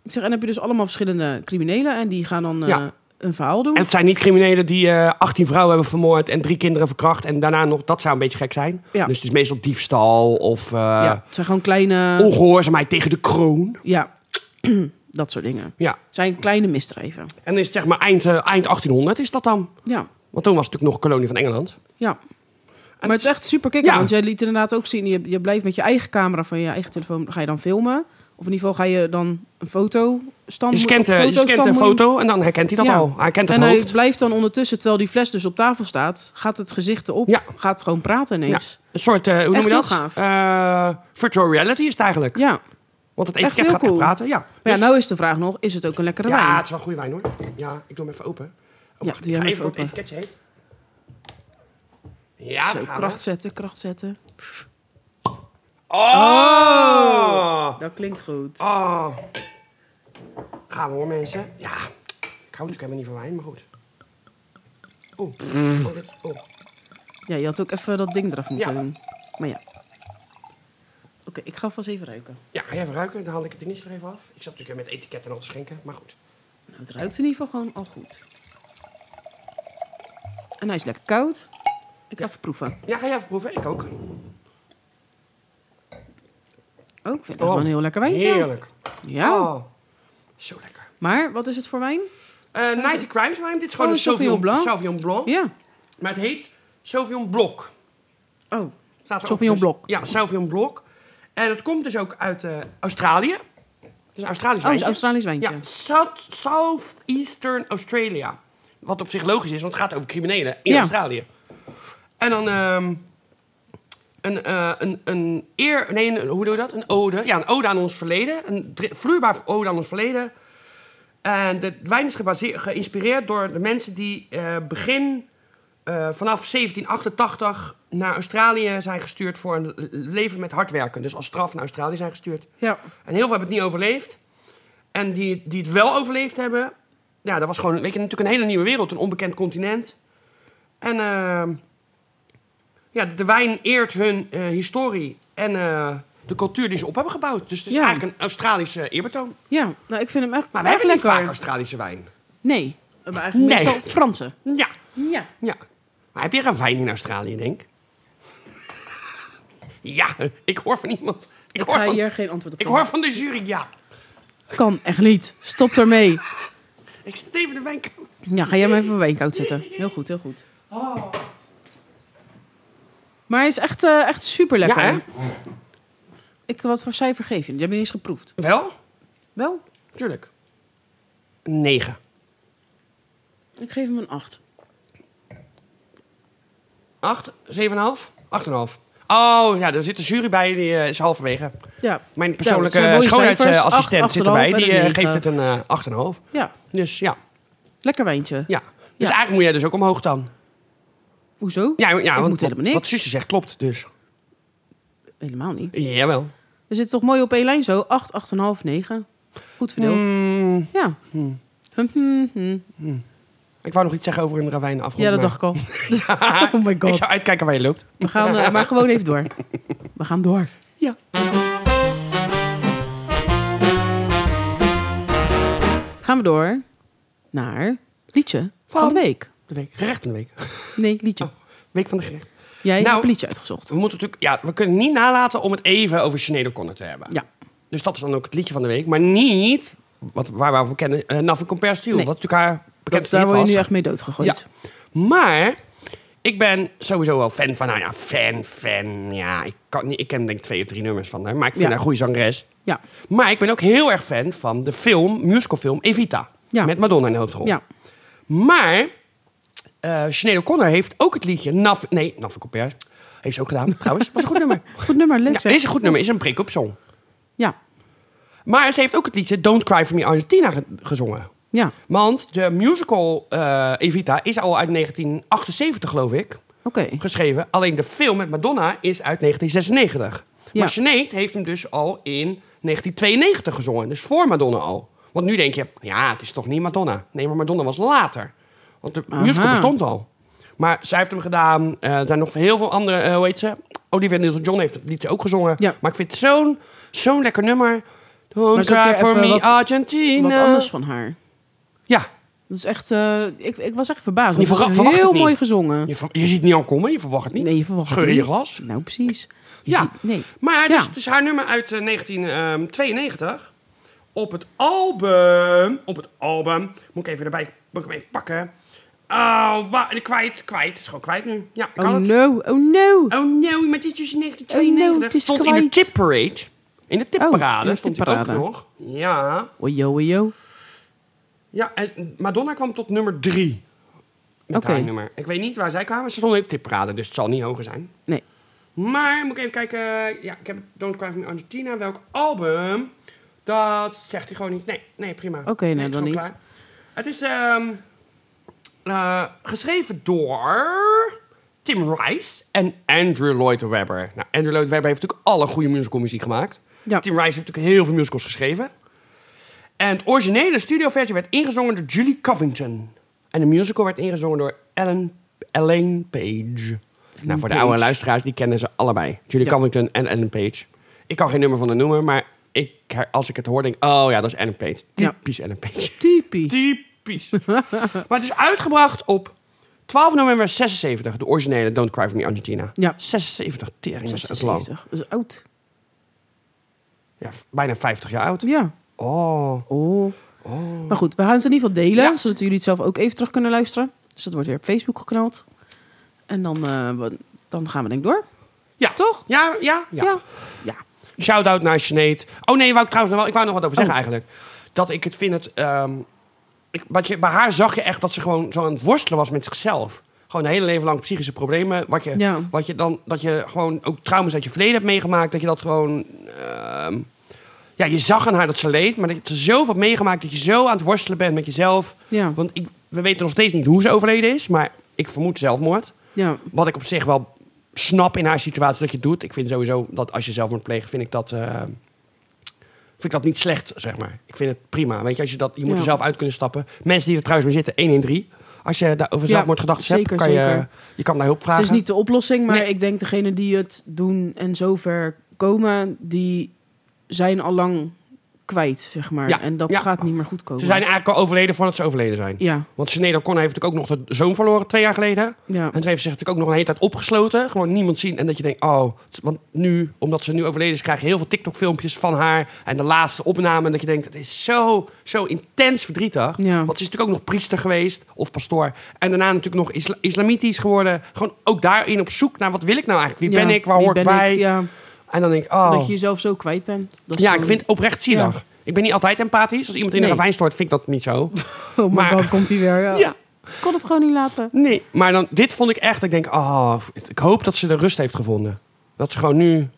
A: Ik zeg, en dan heb je dus allemaal verschillende criminelen en die gaan dan eh,
B: Ja.
A: een verhaal doen.
B: En het zijn niet criminelen die eh 18 vrouwen hebben vermoord en drie kinderen verkracht. En daarna nog, dat zou een beetje gek zijn.
A: Ja.
B: Dus het is meestal diefstal of eh, Oh.
A: ja, het zijn gewoon kleine...
B: ongehoorzaamheid tegen de kroon.
A: Ja, [CLEARS THROAT] dat soort dingen.
B: Ja.
A: Het zijn kleine misdrijven.
B: En dan is het zeg maar eind, eh, eind 1800 is dat dan.
A: Ja,
B: Want toen was het natuurlijk nog een kolonie van Engeland.
A: ja. maar het is echt super kikker,
B: Ja.
A: want jij liet inderdaad ook zien... Je, je blijft met je eigen camera van je eigen telefoon, ga je dan filmen. Of in ieder geval ga je dan een foto... Stand,
B: Je scant, eh, je
A: fotostand
B: scant een
A: moet je-
B: foto en dan herkent hij dat
A: Ja.
B: al. Hij kent het
A: En hij
B: hoofd.
A: blijft dan ondertussen, terwijl die fles dus op tafel staat... gaat het gezicht erop,
B: Ja.
A: gaat gewoon praten ineens.
B: Een soort, eh, hoe noem
A: Echt
B: je
A: heel
B: dat?
A: gaaf.
B: Eh, virtual reality is het eigenlijk.
A: ja.
B: Want het
A: Echt
B: etiket
A: heel
B: gaat
A: cool.
B: echt praten. Ja,
A: Maar
B: Dus-
A: ja, nou is de vraag nog, is het ook een lekkere
B: ja
A: wijn?
B: het is wel een goede wijn hoor. Ja, ik doe hem even open. Oh,
A: Ja,
B: wacht,
A: doe
B: ik
A: jij
B: ga
A: hem
B: even
A: even
B: door het
A: open.
B: etiketje heen. Ja, daar
A: Zo,
B: gaan we.
A: kracht zetten, kracht zetten.
B: Oh!
A: Dat klinkt goed.
B: Oh. Gaan we hoor, mensen. Ja. Ik hou natuurlijk helemaal niet van wijn, maar goed. Oeh.
A: Mm.
B: Oh, dit- oh.
A: Ja, je had ook even dat ding eraf moeten
B: Ja.
A: doen. Maar ja. Oké, ik ga vast even ruiken.
B: Ja, ga jij even ruiken? Dan haal ik het dingetje er even af. Ik zat natuurlijk met etiket en al te schenken, maar goed.
A: Nou, het ruikt in ieder geval gewoon al goed. En hij is lekker koud. Ik ga even proeven.
B: Ja, ga jij even proeven? Ik ook.
A: Oh, ik vind het
B: Oh,
A: gewoon een heel lekker wijntje.
B: Heerlijk.
A: Ja,
B: Oh. Zo lekker.
A: maar wat is het voor wijn?
B: Eh Nighty Crimes Wine. Dit is gewoon
A: Oh,
B: een Sauvignon
A: Sauvignon Blanc.
B: Sauvignon Blanc.
A: Ja.
B: Maar het heet Sauvignon Blok.
A: Oh,
B: Staat er
A: Sauvignon
B: ook dus-
A: Blanc.
B: Ja, Sauvignon Blok. En dat komt dus ook uit eh, Australië. Het is een Australisch
A: oh het is
B: wijntje.
A: een Australisch wijntje.
B: Ja, South, Southeastern Australia. Wat op zich logisch is, want het gaat over criminelen in
A: Ja.
B: Australië. En dan ehm, een, eh, een, een eer... Nee, een- hoe doe je dat? Een ode. Ja, een ode aan ons verleden. Een dri- vloeibaar ode aan ons verleden. En de wijn is gebase- geïnspireerd door de mensen die eh, begin... eh, vanaf 1788 naar Australië zijn gestuurd voor een le- leven met hard werken. Dus als straf naar Australië zijn gestuurd.
A: Ja.
B: En heel veel hebben het niet overleefd. En die, die het wel overleefd hebben, ja, dat was gewoon weet je, natuurlijk een hele nieuwe wereld, een onbekend continent. En ehm, ja, de wijn eert hun eh, historie en eh, de cultuur die ze op hebben gebouwd. Dus het is
A: Ja.
B: eigenlijk een Australische eerbetoon.
A: Ja, nou ik vind hem echt,
B: Maar wij
A: echt
B: hebben
A: lekker.
B: niet vaak Australische wijn.
A: Nee, we hebben eigenlijk
B: Nee.
A: meestal Fransen.
B: Ja,
A: Ja.
B: ja. Maar heb je er wijn in Australië, denk ik? Ja, ik hoor van iemand. Ik,
A: Ik
B: hoor,
A: ga
B: van,
A: hier geen antwoord op
B: ik
A: geven.
B: hoor van de jury, ja.
A: Kan echt niet. Stop ermee.
B: Ik zet even de wijn koud.
A: Ja, ga jij maar even wijnkoud zetten. Heel goed, heel goed. Maar hij is echt, eh, echt super lekker.
B: Ja, hè?
A: Ik, wat voor cijfer geef je? hem? Je hebt hem niet eens geproefd.
B: Wel?
A: Wel,
B: Tuurlijk. 9.
A: ik geef hem een 8.
B: 8, 7,5? 8,5. Oh ja, er zit een jury bij, die eh, is halverwege.
A: Ja.
B: Mijn
A: Ja, dat zijn
B: persoonlijke
A: mooie cijfers. Acht,
B: schoonheidsassistent
A: acht
B: zit
A: en een half
B: erbij. Die
A: en een
B: eh,
A: negen.
B: geeft het een eh 8,5.
A: ja,
B: Dus ja,
A: lekker wijntje.
B: ja. Dus
A: Ja.
B: eigenlijk moet jij dus ook omhoog dan.
A: Hoezo?
B: Ja, ja want
A: moet
B: wat,
A: helemaal niks.
B: wat zusje zegt klopt dus.
A: Helemaal niet.
B: Jawel.
A: We zitten toch mooi op één lijn zo. 8, 8,5, 9. Goed verdeeld.
B: Mm,
A: Ja. Hm, hm, hm.
B: ik wou nog iets zeggen over een ravijn
A: Ja,
B: afgelopen.
A: dat
B: [LAUGHS]
A: dacht ik al. [LAUGHS] oh my
B: Ik
A: god.
B: zou uitkijken waar je loopt.
A: We gaan eh, maar gewoon even door. We gaan door.
B: Ja.
A: Gaan we door naar liedje van,
B: Van?
A: de week.
B: De week. Gerecht van de week.
A: Nee, liedje.
B: Week van de gerecht.
A: Jij
B: Oh. Nou-
A: hebt een liedje uitgezocht.
B: We moeten natuurlijk, ja, we kunnen niet nalaten om het even over Sinead O'Connor te hebben.
A: Ja.
B: Dus dat is dan ook het liedje van de week. Maar niet, wat, waar we aan voor kennen, eh Nothing Compares to You.
A: Nee.
B: Wat natuurlijk haar
A: Dat,
B: bekendste
A: daar
B: lied
A: word
B: was.
A: je nu echt mee doodgegooid.
B: Maar ik ben sowieso wel fan van haar. Ja, fan, fan. Ja, ik, kan, niet- ik ken denk ik twee of drie nummers van haar. Maar ik vind
A: Ja.
B: haar een goede zangeres.
A: Ja.
B: Maar ik ben ook heel erg fan van de film, musicalfilm Evita.
A: Ja.
B: Met Madonna in de hoofdrol.
A: Ja.
B: Maar eh Sinead O'Connor heeft ook het liedje... Naf, nee, Naf Compares. Heeft ze ook
A: [LAUGHS]
B: gedaan, trouwens. Was een goed nummer.
A: Goed nummer, leuk
B: Ja,
A: zeg.
B: is een goed nummer. Is een break-up song.
A: Ja.
B: Maar ze heeft ook het liedje Don't Cry For Me Argentina ge- gezongen.
A: Ja.
B: Want de musical eh, Evita is al uit 1978, geloof ik,
A: Oké.
B: geschreven. Alleen de film met Madonna is uit 1996.
A: Ja.
B: Maar Sinead heeft hem dus al in 1992 gezongen. Dus voor Madonna al. Want nu denk je, ja, het is toch niet Madonna. Nee, maar Madonna was later. Want de musical
A: Aha.
B: bestond al. Maar zij heeft hem gedaan. Eh, er zijn nog heel veel andere, eh, hoe heet ze? Olivia Nilsson-John heeft het liedje ook gezongen.
A: Ja.
B: Maar ik vind het zo'n zo'n lekker nummer. Don't
A: is ook
B: cry
A: weer
B: for
A: even
B: me,
A: wat-
B: Argentina.
A: Wat anders van haar.
B: Ja,
A: Dat is echt... eh, ik, ik was echt verbaasd.
B: Je
A: Het was
B: verra- verwacht
A: heel
B: het niet.
A: mooi gezongen.
B: Je, ver- je ziet het niet aankomen, je verwacht het niet.
A: Nee, je verwacht het
B: Scheur in je
A: niet.
B: glas.
A: Nou, precies. Je
B: Ja.
A: ziet- nee.
B: Maar dus,
A: Ja.
B: dus haar nummer uit eh, 1992. Op het album. Op het album. Moet ik even erbij. Moet ik hem even pakken. Oh, wa- kwijt. Kwijt. Is gewoon kwijt nu. Ja, ik
A: Oh
B: kan het.
A: no, oh no.
B: Oh no, maar het is dus in
A: Oh
B: 1992.
A: no, het is
B: stond in
A: kwijt. Oh,
B: de tip parade. In de tipparade
A: in de
B: stond hij ook
A: tipparade.
B: nog. Ja.
A: Ojo, ojo.
B: Ja, en Madonna kwam tot nummer drie. Met
A: Oké.
B: haar nummer. Ik weet niet waar zij kwamen. Ze stonden in de tipparade, dus het zal niet hoger zijn.
A: Nee.
B: Maar moet ik even kijken. Ja, ik heb Don't Cry for Me Argentina. Welk album? Dat zegt hij gewoon niet. Nee, nee prima.
A: Oké,
B: nee,
A: nou,
B: is
A: dan
B: gewoon
A: niet.
B: klaar. Het is ehm, eh, geschreven door Tim Rice en Andrew Lloyd Webber. Nou, Andrew Lloyd Webber heeft natuurlijk alle goede musical muziek gemaakt.
A: Ja.
B: Tim Rice heeft natuurlijk heel veel musicals geschreven. En het originele studioversie werd ingezongen door Julie Covington. En de musical werd ingezongen door Ellen, Ellen Page. nou, voor de oude
A: Page.
B: luisteraars, die kennen ze allebei. Julie
A: Ja.
B: Covington en Ellen Page. Ik kan geen nummer van de noemen, maar ik, her- als ik het hoor, denk ik... Oh ja, dat is Ellen Page.
A: Ja.
B: Typisch Ellen Page.
A: Typisch.
B: Typisch. [LAUGHS] maar het is uitgebracht op 12 november 76. De originele Don't Cry For Me Argentina.
A: Ja.
B: 76, tering is het lang.
A: 76. Dat is oud.
B: Ja, f- bijna 50 jaar oud.
A: Ja.
B: Oh.
A: Oh. Maar goed, we gaan het in ieder geval delen,
B: Ja.
A: zodat jullie het zelf ook even terug kunnen luisteren. Dus dat wordt weer op Facebook geknald. En dan, eh, we- dan gaan we denk ik door.
B: Ja.
A: Toch?
B: Ja, ja, ja.
A: Ja.
B: Shout-out naar Sinead. Oh nee, wou ik trouwens nog wel, ik wou nog wat over zeggen
A: Oh.
B: eigenlijk. Dat ik het vind het... ehm, ik, wat je, bij haar zag je echt dat ze gewoon zo aan het worstelen was met zichzelf. Gewoon een hele leven lang psychische problemen. Wat je,
A: Ja.
B: wat je dan, dat je gewoon ook trauma's uit je verleden hebt meegemaakt. Dat je dat gewoon... ehm, ja, je zag aan haar dat ze leed. Maar dat ze zoveel hebt meegemaakt dat je zo aan het worstelen bent met jezelf.
A: Ja.
B: Want ik, we weten nog steeds niet hoe ze overleden is. Maar ik vermoed zelfmoord.
A: Ja.
B: Wat ik op zich wel snap in haar situatie dat je het doet. Ik vind sowieso dat als je zelfmoord pleegt, vind ik dat, eh, vind ik dat niet slecht, zeg maar. Ik vind het prima. Weet je, als je, dat, je moet
A: Ja.
B: er zelf uit kunnen stappen. Mensen die er trouwens mee zitten, 1 in 3. Als je daar over zelfmoordgedachten hebt,
A: zeker,
B: kan je,
A: zeker.
B: je kan daar hulp vragen.
A: Het is niet de oplossing, maar
B: Nee.
A: ik denk degene die het doen en zover komen, die zijn al lang kwijt, zeg maar.
B: Ja,
A: En dat
B: ja.
A: gaat niet meer goed komen.
B: Ze zijn eigenlijk al overleden voordat ze overleden zijn.
A: Ja,
B: Want Sinead O'Connor heeft natuurlijk ook nog de zoon verloren twee jaar geleden.
A: ja.
B: En ze heeft zich natuurlijk ook nog een hele tijd opgesloten. Gewoon niemand zien. En dat je denkt, oh, t- want nu, omdat ze nu overleden is, krijg je heel veel TikTok-filmpjes van haar. En de laatste opname. En dat je denkt, het is zo, zo intens verdrietig.
A: Ja.
B: Want ze is natuurlijk ook nog priester geweest of pastoor. En daarna natuurlijk nog isla- islamitisch geworden. Gewoon ook daarin op zoek naar wat wil ik nou eigenlijk? Wie ben
A: Ja,
B: ik? Waar
A: wie
B: hoor ik
A: ben
B: bij?
A: ja.
B: En dan denk ik, oh.
A: Dat je jezelf zo kwijt bent. Dat is
B: Ja,
A: dan-
B: ik vind het oprecht zielig.
A: Ja.
B: Ik ben niet altijd empathisch. Als iemand in een
A: Nee.
B: ravijn stort, vind ik dat niet zo.
A: Oh my
B: maar-
A: god, komt hij weer. [LAUGHS] Ja.
B: ja.
A: Ik kon het gewoon niet laten.
B: Nee, maar dan, dit vond ik echt. dat Ik denk, ah, ik hoop dat ze de rust heeft gevonden. Dat ze gewoon nu.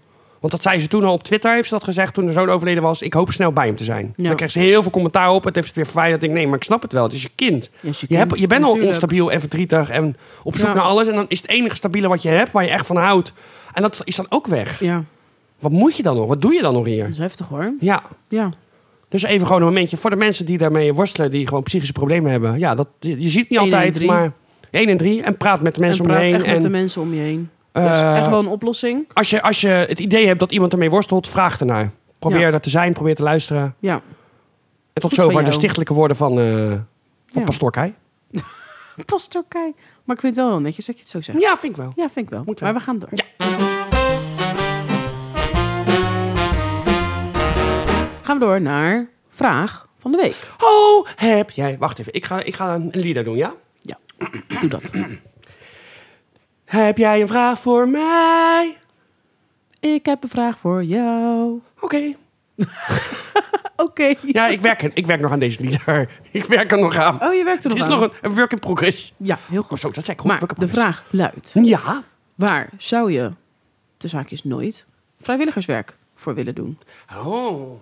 B: Want dat zei ze toen al op Twitter, heeft ze dat gezegd toen de zoon overleden was. Ik hoop snel bij hem te zijn.
A: Ja.
B: Dan kreeg ze heel veel commentaar op. Het heeft het weer verwijderd. Ik denk, nee, maar ik snap het wel. Het is je kind.
A: Ja, is je
B: Je,
A: kind,
B: hebt, je bent al
A: natuurlijk.
B: onstabiel en verdrietig en op zoek
A: Ja.
B: naar alles. En dan is het enige stabiele wat je hebt, waar je echt van houdt. En dat is dan ook weg.
A: Ja,
B: Wat moet je dan nog? Wat doe je dan nog hier?
A: dat is heftig hoor.
B: Ja.
A: Ja.
B: Dus even gewoon een momentje voor de mensen die daarmee worstelen, die gewoon psychische problemen hebben. Ja, dat, je, je ziet het niet
A: Eén in
B: altijd,
A: drie.
B: maar 1 en 3. En praat met de mensen
A: en praat
B: om je heen.
A: echt met
B: en-
A: de mensen om je heen. Dat is
B: Eh,
A: echt wel een oplossing.
B: als, je, als je het idee hebt dat iemand ermee worstelt, vraag ernaar. Probeer
A: Ja.
B: er te zijn, probeer te luisteren.
A: Ja.
B: En tot
A: Goed van
B: zover de
A: jou.
B: stichtelijke woorden van, eh van
A: Ja.
B: pastoor Keij.
A: Pastor Kei. Maar ik vind het wel heel netjes dat je het zo zegt.
B: Ja, vind ik wel.
A: Ja, vind ik wel.
B: Moet wel.
A: maar we gaan door.
B: Ja.
A: gaan we door naar vraag van de week.
B: Oh, heb jij... Wacht even, ik ga, ik ga een lieder doen, ja?
A: Ja, doe dat.
B: Heb jij een vraag voor mij?
A: Ik heb een vraag voor
B: [LAUGHS]
A: jou.
B: Oké.
A: Oké.
B: Ja, ik werk, ik werk nog aan deze lieder. Ik werk er nog aan.
A: Oh, je werkt er
B: Het
A: nog
B: is
A: aan.
B: nog een, een work in progress.
A: Ja, heel
B: Oh,
A: goed.
B: zo, dat zei ik ook.
A: Maar
B: work in
A: de
B: progress.
A: vraag luidt.
B: Ja.
A: Waar zou je, de zaak is nooit, vrijwilligerswerk voor willen doen?
B: Oh.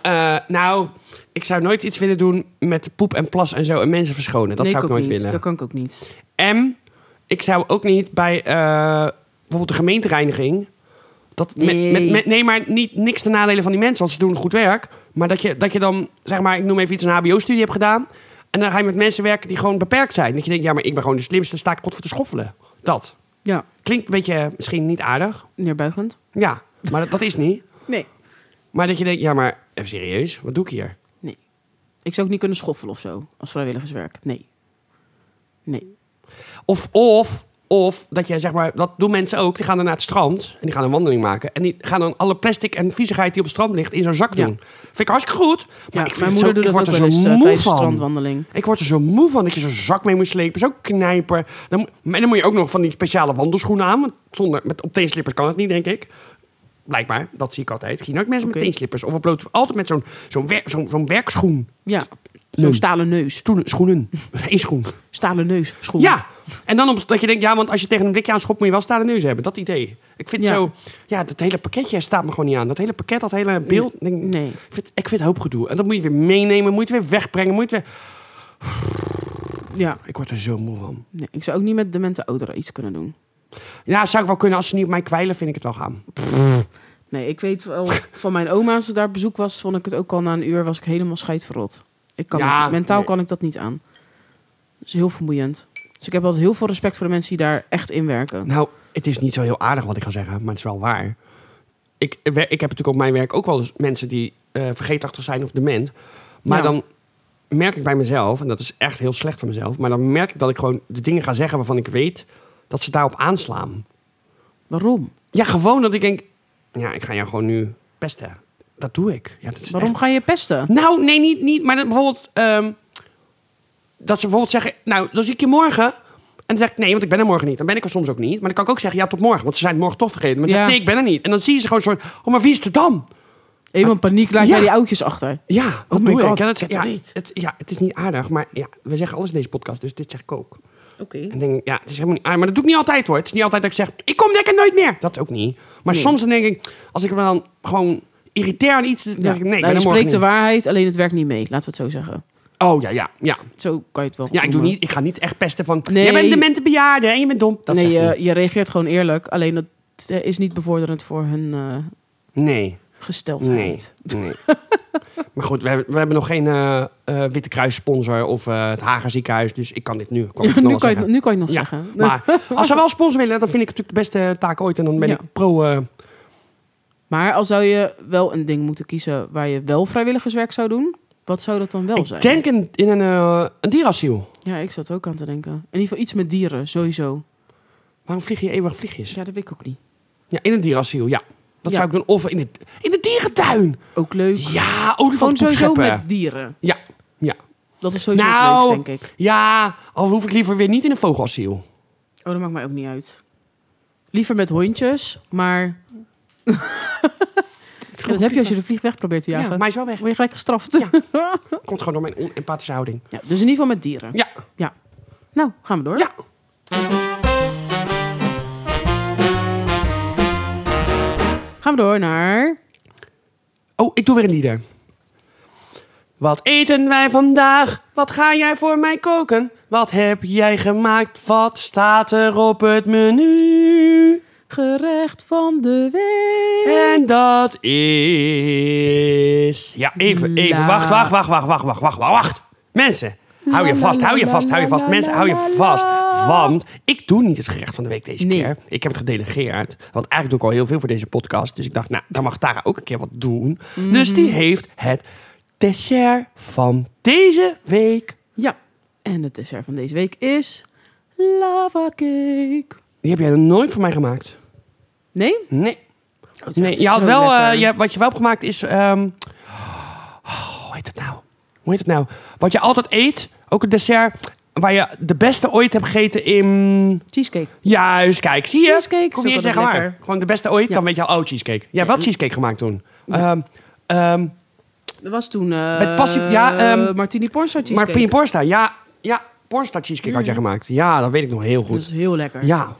B: Eh, nou, ik zou nooit iets willen doen met poep en plas en zo en mensen verschonen. Dat
A: nee,
B: zou ik
A: ook
B: nooit
A: niet.
B: willen.
A: Dat kan ik ook niet.
B: En ik zou ook niet bij eh, bijvoorbeeld de gemeentereiniging. Dat met-
A: Nee.
B: Met, met, nee, maar niet, niks ten nadelen van die mensen, want ze doen goed werk. Maar dat je, dat je dan, zeg maar, ik noem even iets, een HBO-studie hebt gedaan. En dan ga je met mensen werken die gewoon beperkt zijn. Dat je denkt, ja, maar ik ben gewoon de slimste, sta ik pot voor te schoffelen. Dat.
A: Ja,
B: Klinkt een beetje eh, misschien niet aardig.
A: neerbuigend.
B: Ja, maar dat, dat is niet.
A: Nee.
B: Maar dat je denkt, ja, maar even serieus, wat doe ik hier?
A: Nee. Ik zou ook niet kunnen schoffelen of zo, als vrijwilligerswerk. Nee. Nee.
B: Of, of, of dat je zeg maar, dat doen mensen ook. Die gaan dan naar het strand en die gaan een wandeling maken. En die gaan dan alle plastic en viezigheid die op het strand ligt in zo'n zak
A: Ja.
B: doen. Vind ik hartstikke goed. Maar
A: Ja,
B: ik vind
A: mijn
B: het
A: moeder
B: zo, ik
A: doet dat
B: word
A: ook
B: er
A: wel eens
B: zo
A: eh,
B: moe
A: tijdens de
B: van.
A: strandwandeling.
B: Ik word er zo moe van dat je zo'n zak mee moet slepen, zo'n knijper. Dan, moet- en dan moet je ook nog van die speciale wandelschoenen aan. Want zonder, met, op teenslippers kan het niet, denk ik. Blijkbaar, dat zie ik altijd. Ik zie nooit mensen
A: Oké.
B: met teenslippers. Of op bloot, altijd met zo'n zo'n wer- zo'n- zo'n werkschoen.
A: Ja. Zo'n
B: Nee.
A: stalen neus.
B: Stoelen,
A: [LAUGHS]
B: schoenen. Eén schoen.
A: Stalen neus. Schoen.
B: Ja, en dan op, dat je denkt, ja, want als je tegen een blikje aanschopt, moet je wel stalen neus hebben. Dat idee. Ik vind
A: Ja.
B: zo, ja, dat hele pakketje staat me gewoon niet aan. Dat hele pakket, dat hele beeld. Ik denk,
A: Nee.
B: Ik vind, ik vind het hoop gedoe. En dat moet je weer meenemen, moet je het weer wegbrengen, moet je het weer...
A: Ja.
B: Ik word er zo moe van.
A: Nee. Ik zou ook niet met demente ouderen iets kunnen doen.
B: Ja, zou ik wel kunnen. Als ze niet op mij kwijlen, vind ik het wel gaan.
A: Nee, ik
B: [LAUGHS]
A: weet wel van mijn oma, als ze daar op bezoek was, vond ik het ook al na een uur, was ik helemaal scheidverrot. Ik kan
B: Ja,
A: het- mentaal
B: nee.
A: kan ik dat niet aan. Dat is heel vermoeiend. Dus ik heb altijd heel veel respect voor de mensen die daar echt in werken.
B: Nou, het is niet zo heel aardig wat ik ga zeggen, maar het is wel waar. Ik, wer- ik heb natuurlijk op mijn werk ook wel eens mensen die eh, vergeetachtig zijn of dement. Maar
A: Ja.
B: dan merk ik bij mezelf, en dat is echt heel slecht voor mezelf, maar dan merk ik dat ik gewoon de dingen ga zeggen waarvan ik weet dat ze daarop aanslaan.
A: Waarom?
B: Ja, gewoon dat ik denk, ja, ik ga jou gewoon nu pesten. Dat doe ik. Ja, dat is
A: Waarom
B: echt-
A: ga je pesten?
B: Nou, nee, niet, niet. Maar dat bijvoorbeeld, ehm, dat ze bijvoorbeeld zeggen, nou, dan zie ik je morgen. En dan zeg ik, nee, want ik ben er morgen niet. Dan ben ik er soms ook niet. Maar dan kan ik ook zeggen, ja, tot morgen. Want ze zijn het morgen toch vergeten. Maar dan
A: Ja.
B: zeg ik, nee, ik ben er niet. En dan zie je ze gewoon een soort, oh, maar wie is er dan?
A: Even in paniek, laat
B: Ah, Ja.
A: jij die oudjes achter.
B: Ja, dat
A: Oh my
B: doe
A: God,
B: ik. En dat-
A: ik heb
B: ja,
A: het niet.
B: Het, ja, het is niet aardig, maar ja, we zeggen alles in deze podcast. Dus dit zeg ik ook.
A: Oké.
B: En denk ik, ja, het is helemaal niet aardig. Maar dat doe ik niet altijd hoor. Het is niet altijd dat ik zeg, ik kom lekker nooit meer. Dat ook niet. Maar
A: Nee.
B: soms dan denk ik, als ik me dan gewoon irriteer aan iets, dan denk ik, nee, ik ben
A: Nou, je
B: er morgen
A: spreekt de
B: niet.
A: waarheid, alleen het werkt niet mee. Laten we het zo zeggen.
B: Oh ja, ja, ja.
A: Zo kan je het wel
B: Ja, ik, doe
A: noemen.
B: niet, ik ga niet echt pesten van...
A: Nee.
B: Jij bent een demente bejaarde en je bent dom. Dat
A: nee, eh,
B: zeg ik
A: je, je reageert gewoon eerlijk. Alleen dat eh, is niet bevorderend voor hun eh,
B: niet. nee,
A: [LAUGHS]
B: nee,
A: gesteldheid.
B: nee. [LAUGHS] maar goed, we, hebben- we hebben nog geen eh, eh, Witte Kruis sponsor of eh, het Hager ziekenhuis. Dus ik kan dit nu. Kan ik
A: nu,
B: nog wel
A: kan je, het-
B: zeggen.
A: nu kan je het nog
B: Ja,
A: zeggen.
B: [LAUGHS] Maar als ze wel sponsor willen, dan vind ik het natuurlijk de beste taak ooit. En dan ben
A: Ja.
B: ik pro... eh,
A: Maar al zou je wel een ding moeten kiezen waar je wel vrijwilligerswerk zou doen, wat zou dat dan wel zijn?
B: ik denk in, in een, eh, een dierasiel.
A: Ja, ik zat ook aan te denken. In ieder geval iets met dieren, sowieso.
B: Waarom vlieg je eeuwig vliegjes? Ja,
A: Ja, dat weet ik ook niet.
B: in een dierasiel, ja. Dat
A: Ja.
B: zou ik doen. Of in de, in de dierentuin.
A: Ook leuk.
B: Ja,
A: Gewoon
B: olifanten
A: sowieso
B: scheppen.
A: met dieren.
B: Ja, ja.
A: Dat is sowieso
B: Nou.
A: het leukste, denk ik.
B: Ja, al hoef ik liever weer niet in een vogelasiel.
A: Oh, dat maakt mij ook niet uit. Liever met hondjes,
B: [LAUGHS]
A: maar ja, dat heb je als je de vlieg weg probeert te
B: Ja,
A: jagen.
B: maar hij is wel weg.
A: Word je gelijk gestraft. [LAUGHS]
B: Ja.
A: Ja.
B: Komt gewoon door mijn onempathische houding.
A: dus in ieder geval met dieren.
B: Ja.
A: Ja. Nou, gaan we door.
B: Ja.
A: Gaan we door naar...
B: Oh, ik doe weer een lieder. Wat eten wij vandaag? Wat ga jij voor mij koken? Wat heb jij gemaakt? Wat staat er op het menu?
A: Gerecht van de week.
B: En dat is... Ja, even, even.
A: La.
B: Wacht, wacht, wacht, wacht, wacht, wacht, wacht, wacht, wacht. Mensen, hou je
A: La,
B: vast,
A: la,
B: hou je
A: la,
B: vast, hou je
A: la,
B: vast.
A: la,
B: Mensen,
A: la,
B: hou je
A: la,
B: vast.
A: la.
B: Want ik doe niet het gerecht van de week deze
A: Nee.
B: keer. Ik heb het gedelegeerd. Want eigenlijk doe ik al heel veel voor deze podcast. Dus ik dacht, nou, dan mag Tara ook een keer wat doen.
A: Mhm.
B: Dus die heeft het dessert van deze week.
A: Ja, en het dessert van deze week is lava cake.
B: Die heb jij nog nooit voor mij gemaakt.
A: Nee?
B: Nee.
A: het Oh, is echt
B: Nee, je had
A: zo
B: wel,
A: lekker.
B: eh, je, wat je wel hebt gemaakt is... ehm, oh, hoe heet het nou? Hoe heet het nou? Wat je altijd eet, ook het dessert... waar je de beste ooit hebt gegeten in...
A: Cheesecake.
B: Juist, kijk, zie je?
A: Cheesecake is
B: Kom je
A: ook
B: eens
A: altijd
B: zeggen waar.
A: lekker.
B: Gewoon de beste ooit,
A: Ja.
B: dan weet je al, oh, cheesecake. Jij hebt wel cheesecake gemaakt toen. Ehm, ehm,
A: Dat was toen... eh
B: Met passief- ja, ehm,
A: Martini Pornstar
B: maar
A: cheesecake. Mm.
B: Pien Porsta, ja, ja, Porsta cheesecake had jij gemaakt. Ja, dat weet ik nog heel
A: Dat
B: goed.
A: is heel lekker.
B: Ja,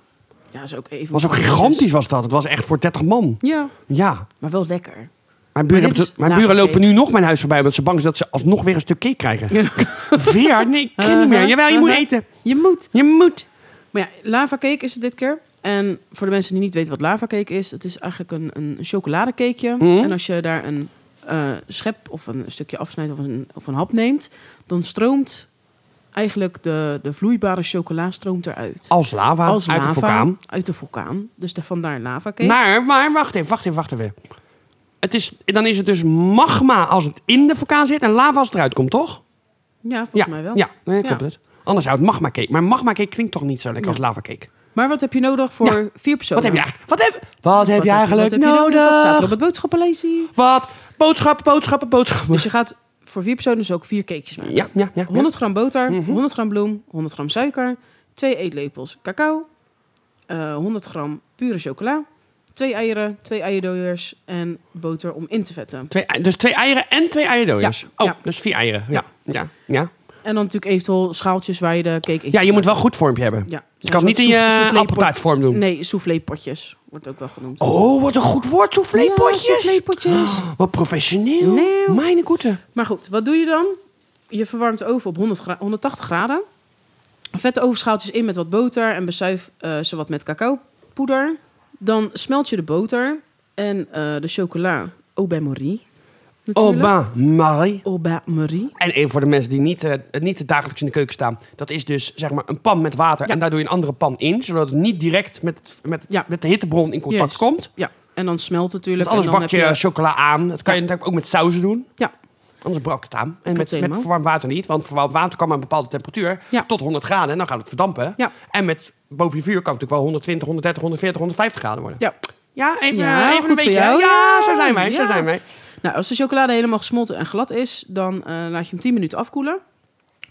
A: Ja, is ook even...
B: was ook gigantisch was dat. Het was echt voor 30 man.
A: Ja,
B: Ja.
A: maar wel lekker.
B: Mijn buren,
A: Maar dit
B: hebben-
A: is
B: mijn
A: lage
B: buren lopen
A: cake.
B: nu nog mijn huis voorbij... omdat ze bang zijn dat ze alsnog weer een stuk cake krijgen. Veer? Nee, ik ken niet meer.
A: Uh-huh,
B: Jawel, je moet
A: uh-huh.
B: eten.
A: [LAUGHS] Je moet.
B: Je moet.
A: Maar ja, lava cake is het dit keer. En voor de mensen die niet weten wat lava cake is, het is eigenlijk een, een chocoladecakeje.
B: Mhm.
A: En als je daar een eh, schep of een stukje afsnijdt of een, of een hap neemt, dan stroomt eigenlijk de, de vloeibare chocola stroomt eruit.
B: Als lava, Ah, uit de vulkaan.
A: Uit de vulkaan. Dus de, vandaar lava cake.
B: Maar, maar, wacht even, wacht even, wacht even. Het is, dan is het dus magma als het in de vulkaan zit... en lava als het eruit komt, toch?
A: ja, volgens
B: Ja,
A: mij wel.
B: ja nee, klopt
A: Ja.
B: het. Anders zou het magma cake. Maar magma cake klinkt toch niet zo lekker
A: Ja.
B: als lava cake?
A: Maar wat heb je nodig voor vier personen?
B: Wat heb je eigenlijk, wat heb, wat heb je eigenlijk
A: wat heb je
B: nodig?
A: Wat staat er op het boodschappenlijstje?
B: Wat? Boodschappen, boodschappen, [LAUGHS] boodschappen.
A: Dus je gaat voor vier personen dus ook vier cakejes maken.
B: Ja, Mhm. ja, ja.
A: 100 gram boter, 100 gram bloem, 100 gram suiker, 2 eetlepels cacao, eh, 100 gram pure chocola, 2 eieren, 2 eierdooiers en boter om in te vetten.
B: Twee, ei- dus twee eieren en twee eierdooiers.
A: Ja,
B: Oh,
A: ja.
B: dus vier eieren. Ja, ja, ja.
A: En dan natuurlijk eventueel schaaltjes waar je de cake in
B: Ja, je moet wel een goed vormpje hebben.
A: Ja.
B: Je
A: Ja,
B: kan het Dus niet in
A: soort souff-
B: je
A: soufflépot-
B: appeltaartvorm doen.
A: Nee, soufflépotjes wordt ook wel genoemd.
B: Oh, wat een goed woord,
A: Ja,
B: soufflépotjes.
A: soufflépotjes.
B: wat professioneel.
A: Nee.
B: Mijn goede.
A: Maar goed, wat doe je dan? Je verwarmt de oven op 100 gra- 180 graden. Vette ovenschaaltjes in met wat boter en bezuif eh, ze wat met cacaopoeder. Dan smelt je de boter en eh, de chocola au bain-marie. natuurlijk.
B: Oba, Oh, Marie.
A: Au bain-marie.
B: En even voor de mensen die niet, eh, niet dagelijks in de keuken staan. Dat is dus zeg maar een pan met water.
A: Ja.
B: En daar doe je een andere pan in. Zodat het niet direct met, het- met, het-
A: Ja.
B: met de hittebron in contact
A: Yes.
B: komt.
A: Ja, en dan smelt het
B: Want
A: natuurlijk.
B: anders
A: en dan
B: bak je,
A: heb
B: chocola aan. Dat kan je
A: Ja.
B: natuurlijk ook met sauzen doen.
A: Ja.
B: Anders brak het aan. En
A: Klopt
B: met, met
A: helemaal.
B: verwarmd water niet. Want verwarmd water kan maar een bepaalde temperatuur.
A: Ja.
B: Tot 100 graden. En dan gaat het verdampen.
A: Ja.
B: En met boven je vuur kan het natuurlijk wel 120, 130, 140, 150 graden worden.
A: Ja.
B: Ja, even,
A: Ja,
B: even
A: goed
B: een
A: voor
B: beetje.
A: jou.
B: Ja, zo zijn wij.
A: Ja.
B: Zo zijn wij.
A: Nou, als de chocolade helemaal gesmolten en glad is, dan eh, laat je hem 10 minuten afkoelen.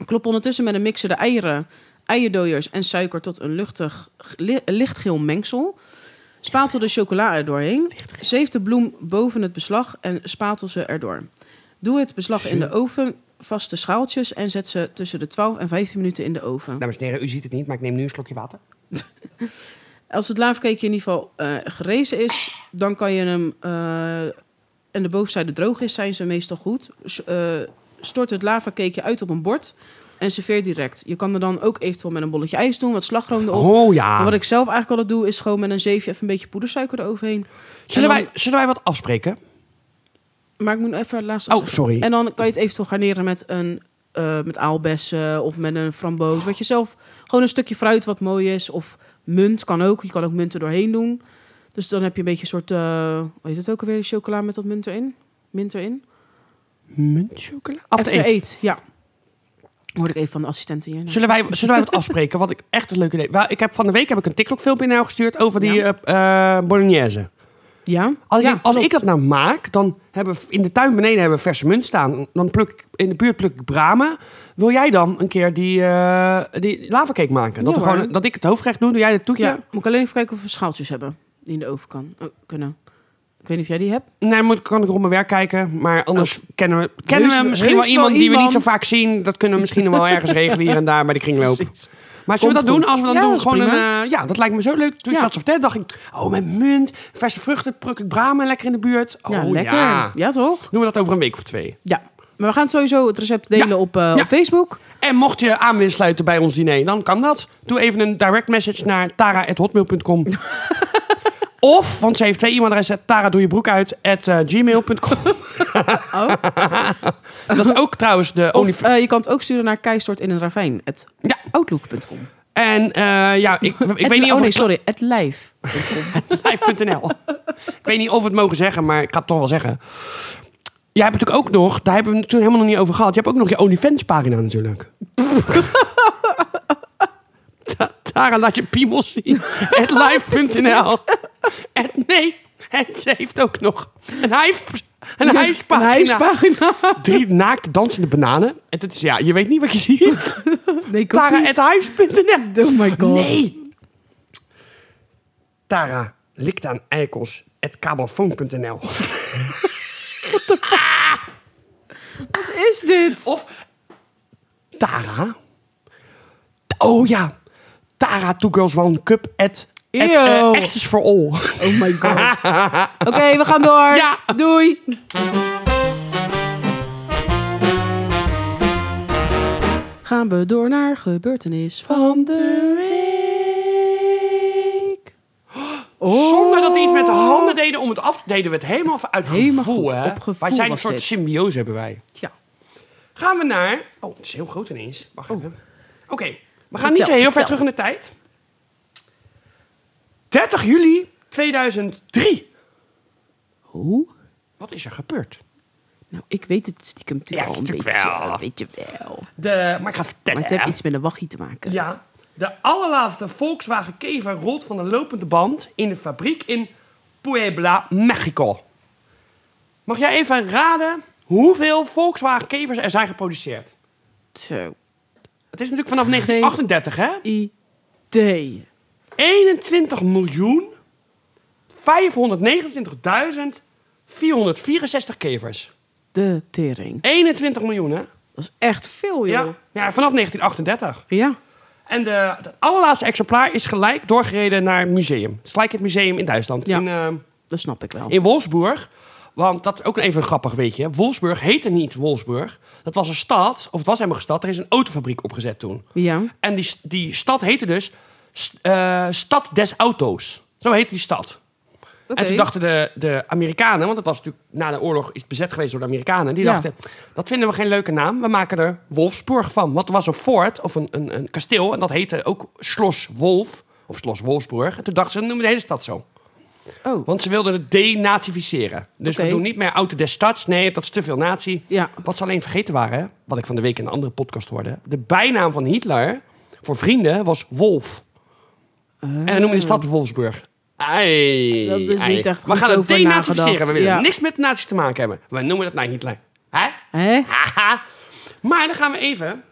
A: Klop ondertussen met een mixer de eieren, eierdooiers en suiker tot een luchtig, li- lichtgeel mengsel. Spatel de chocola er doorheen. Zeef de bloem boven het beslag en spatel ze erdoor. Doe het beslag in de oven, vaste schaaltjes en zet ze tussen de 12 en 15 minuten in de oven.
B: Dames en heren, u ziet het niet. Maar ik neem nu een slokje water.
A: Als het laafcakeje in ieder geval eh gerezen is, dan kan je hem. eh, en de bovenzijde droog is, zijn ze meestal goed. S- eh, stort het lavacakeje uit op een bord en serveer direct. Je kan er dan ook eventueel met een bolletje ijs doen, wat slagroom erop.
B: Oh ja.
A: Maar wat ik zelf eigenlijk altijd doe, is gewoon met een zeefje even een beetje poedersuiker eroverheen.
B: Zullen,
A: En dan-
B: wij, zullen wij wat afspreken?
A: Maar ik moet even het laatste
B: Oh,
A: zeggen.
B: sorry.
A: En dan kan je het eventueel garneren met een eh, met aalbessen of met een framboos. Wat je zelf, gewoon een stukje fruit wat mooi is. Of munt kan ook. Je kan ook munt er doorheen doen. Dus dan heb je een beetje een soort, eh hoe heet het ook alweer, chocola met dat munt erin? Mint erin?
B: Muntchocola? Af te
A: After
B: eten.
A: eet, ja. Hoorde ik even van de assistenten hier.
B: Zullen wij, zullen wij wat afspreken? Wat ik echt een leuk idee. Wel, Ik heb van de week heb ik een TikTok filmpje naar jou gestuurd over die
A: Ja.
B: eh, eh, bolognese.
A: Ja?
B: Als,
A: ja,
B: ik, als ik
A: klopt.
B: dat nou maak, dan hebben we in de tuin beneden hebben we verse munt staan. Dan pluk ik in de buurt pluk ik bramen. Wil jij dan een keer die, eh die lavacake maken? Dat,
A: Ja,
B: we
A: hoor.
B: gewoon, dat ik het hoofdgerecht doe, doe jij het toetje?
A: Ja, moet ik alleen even kijken of we schaaltjes hebben die in de oven kan, eh, kunnen. Ik weet niet of jij die hebt.
B: Nee, moet, kan ik rond mijn werk kijken. Maar anders kennen we, kennen
A: Heus-
B: we misschien wel
A: heus
B: iemand
A: Oh. wel
B: die we niet zo
A: iemand.
B: vaak zien. Dat kunnen we misschien nog wel
A: [LAUGHS]
B: ergens regelen hier en daar bij de kringloop. Maar zullen we dat
A: Komt
B: doen?
A: goed.
B: Als we dan
A: Ja,
B: doen
A: dat is
B: gewoon een...
A: prima.
B: eh, ja, dat lijkt me zo leuk. Toen ik
A: Ja.
B: dat zo vertelde, dacht ik... Oh, met munt, verse vruchten, pruk ik bramen lekker in de buurt. Oh,
A: ja, lekker.
B: ja.
A: ja, toch?
B: Doen we dat over een week of twee.
A: Ja, maar we gaan sowieso het recept delen
B: Ja.
A: op, eh,
B: Ja.
A: op Facebook.
B: En mocht je aan willen sluiten bij ons diner, dan kan dat. Doe even een direct message naar tara.hotmail.com. of, want ze heeft twee e-mailadressen, tara doe je broek uit, at eh, gmail.com.
A: Oh.
B: dat is ook trouwens de
A: Of
B: OnlyFans.
A: eh, je kan het ook sturen naar keistort in een ravijn. At
B: Ja.
A: outlook.com.
B: En eh, ja, ik, ik weet niet
A: oh
B: of
A: nee,
B: het
A: sorry. At live.
B: Live.nl. ik weet niet of we het mogen zeggen, maar ik ga het toch wel zeggen. Jij hebt natuurlijk ook nog, daar hebben we het toen helemaal nog niet over gehad. Je hebt ook nog je OnlyFans pagina natuurlijk. [LAUGHS] [LAUGHS] Ta- Tara laat je piemels zien. At live.nl. At- Nee, En ze heeft ook nog een, hijf, een
A: Een
B: hijspagina.
A: hijspagina.
B: Drie [LAUGHS] naakte dansende bananen. En dat is, ja, je weet niet wat je ziet.
A: [LAUGHS] Nee, ik ook niet.
B: Tara.hijs.nl
A: Oh my god.
B: Nee. Tara likt aan eikels at kabelfoon.nl.
A: Wat is dit?
B: Of Tara. Oh ja. Tara Two Girls One Cup at, at
A: Eeuw.
B: eh, Access for All.
A: Oh
B: [LAUGHS]
A: my god. Oké, we gaan door.
B: Oh. Ja.
A: Doei. Gaan we door naar gebeurtenis van de week. Oh.
B: Zonder dat we iets met de handen deden om het af te deden. We het helemaal uit
A: Helemaal
B: gevoel,
A: goed,
B: hè?
A: op gevoel
B: wij zijn een
A: was
B: soort
A: dit.
B: symbiose hebben wij.
A: Ja.
B: Gaan we naar... Oh, het is heel groot ineens. Wacht even. Oké, we gaan niet
A: Vertel,
B: zo heel ver
A: vertel.
B: terug in de tijd. 30 juli 2003.
A: Hoe?
B: Wat is er gebeurd?
A: Nou, ik weet het stiekem natuurlijk
B: Ja,
A: al een beetje.
B: natuurlijk wel.
A: Weet je wel.
B: De, maar ik ga vertellen.
A: Maar het heeft iets met een wachtie te maken.
B: Ja, de allerlaatste Volkswagen Kever rolt van een lopende band in de fabriek in Puebla, Mexico. Mag jij even raden hoeveel Volkswagen Kevers er zijn geproduceerd?
A: Zo.
B: Het is natuurlijk [LAUGHS] vanaf
A: Geen
B: 1938, hè?
A: Idee.
B: 21 miljoen 529.464 kevers.
A: De tering.
B: 21 miljoen, hè?
A: Dat is echt veel,
B: Ja.
A: joh.
B: ja, vanaf 1938.
A: Ja.
B: En de, het allerlaatste exemplaar is gelijk doorgereden naar het museum. Het is gelijk het museum in Duitsland.
A: Ja.
B: In, ehm,
A: Dat snap ik wel.
B: in Wolfsburg. Want dat is ook even een grappig weetje. Wolfsburg heette niet Wolfsburg. Dat was een stad, of het was helemaal een stad. Er is een autofabriek opgezet toen.
A: Ja.
B: En die, die stad heette dus st- eh, Stad des Auto's. Zo heette die stad.
A: Oké.
B: En toen dachten de, de Amerikanen, want het was natuurlijk na de oorlog is het bezet geweest door de Amerikanen. Die
A: Ja.
B: dachten, dat vinden we geen leuke naam. We maken er Wolfsburg van. Want er was een fort of een, een, een kasteel en dat heette ook Schloss Wolf. Of Schloss Wolfsburg. En toen dachten ze, dan noemen we de hele stad zo.
A: Oh.
B: Want ze wilden het denazificeren. Dus
A: Oké.
B: we doen niet meer auto des stads. Nee, dat is te veel nazi.
A: Ja.
B: Wat ze alleen vergeten waren, hè, wat ik van de week in een andere podcast hoorde. De bijnaam van Hitler voor vrienden was Wolf. En dan noemen de stad Wolfsburg. Ei,
A: Dat is
B: ei.
A: niet echt
B: We
A: goed
B: gaan het
A: over
B: denazificeren. We
A: nagedacht.
B: willen
A: Ja.
B: niks met de nazi's te maken hebben. We noemen dat naar Hitler. Hè?
A: Hè? Oh,
B: Haha. Maar dan gaan we even...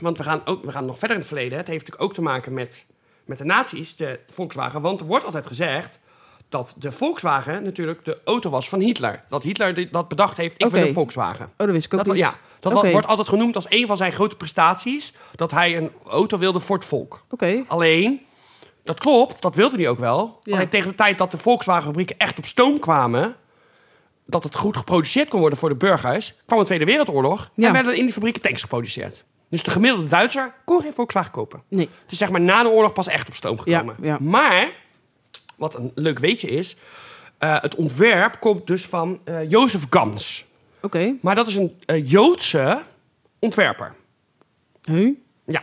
B: Want we gaan, ook, we gaan nog verder in het verleden. Het heeft natuurlijk ook te maken met, met de nazi's, de Volkswagen. Want er wordt altijd gezegd dat de Volkswagen natuurlijk de auto was van Hitler. Dat Hitler die- dat bedacht heeft, ik wil
A: Oké.
B: een Volkswagen.
A: Oh, dat wist ik ook
B: Dat,
A: niet.
B: ja, dat
A: Oké.
B: wordt altijd genoemd als een van zijn grote prestaties... dat hij een auto wilde voor het volk.
A: Oké.
B: Alleen, dat klopt, dat wilde hij ook wel.
A: Ja.
B: Alleen tegen de tijd dat de Volkswagen-fabrieken echt op stoom kwamen... dat het goed geproduceerd kon worden voor de burgers... kwam de Tweede Wereldoorlog
A: Ja.
B: en werden in die fabrieken tanks geproduceerd. Dus de gemiddelde Duitser kon geen Volkswagen kopen.
A: Nee.
B: Het is zeg maar na de oorlog pas echt op stoom gekomen.
A: Ja, ja.
B: Maar, wat een leuk weetje is... eh, het ontwerp komt dus van eh, Jozef Gans.
A: Oké.
B: Maar dat is een eh, Joodse ontwerper.
A: Huh?
B: Ja.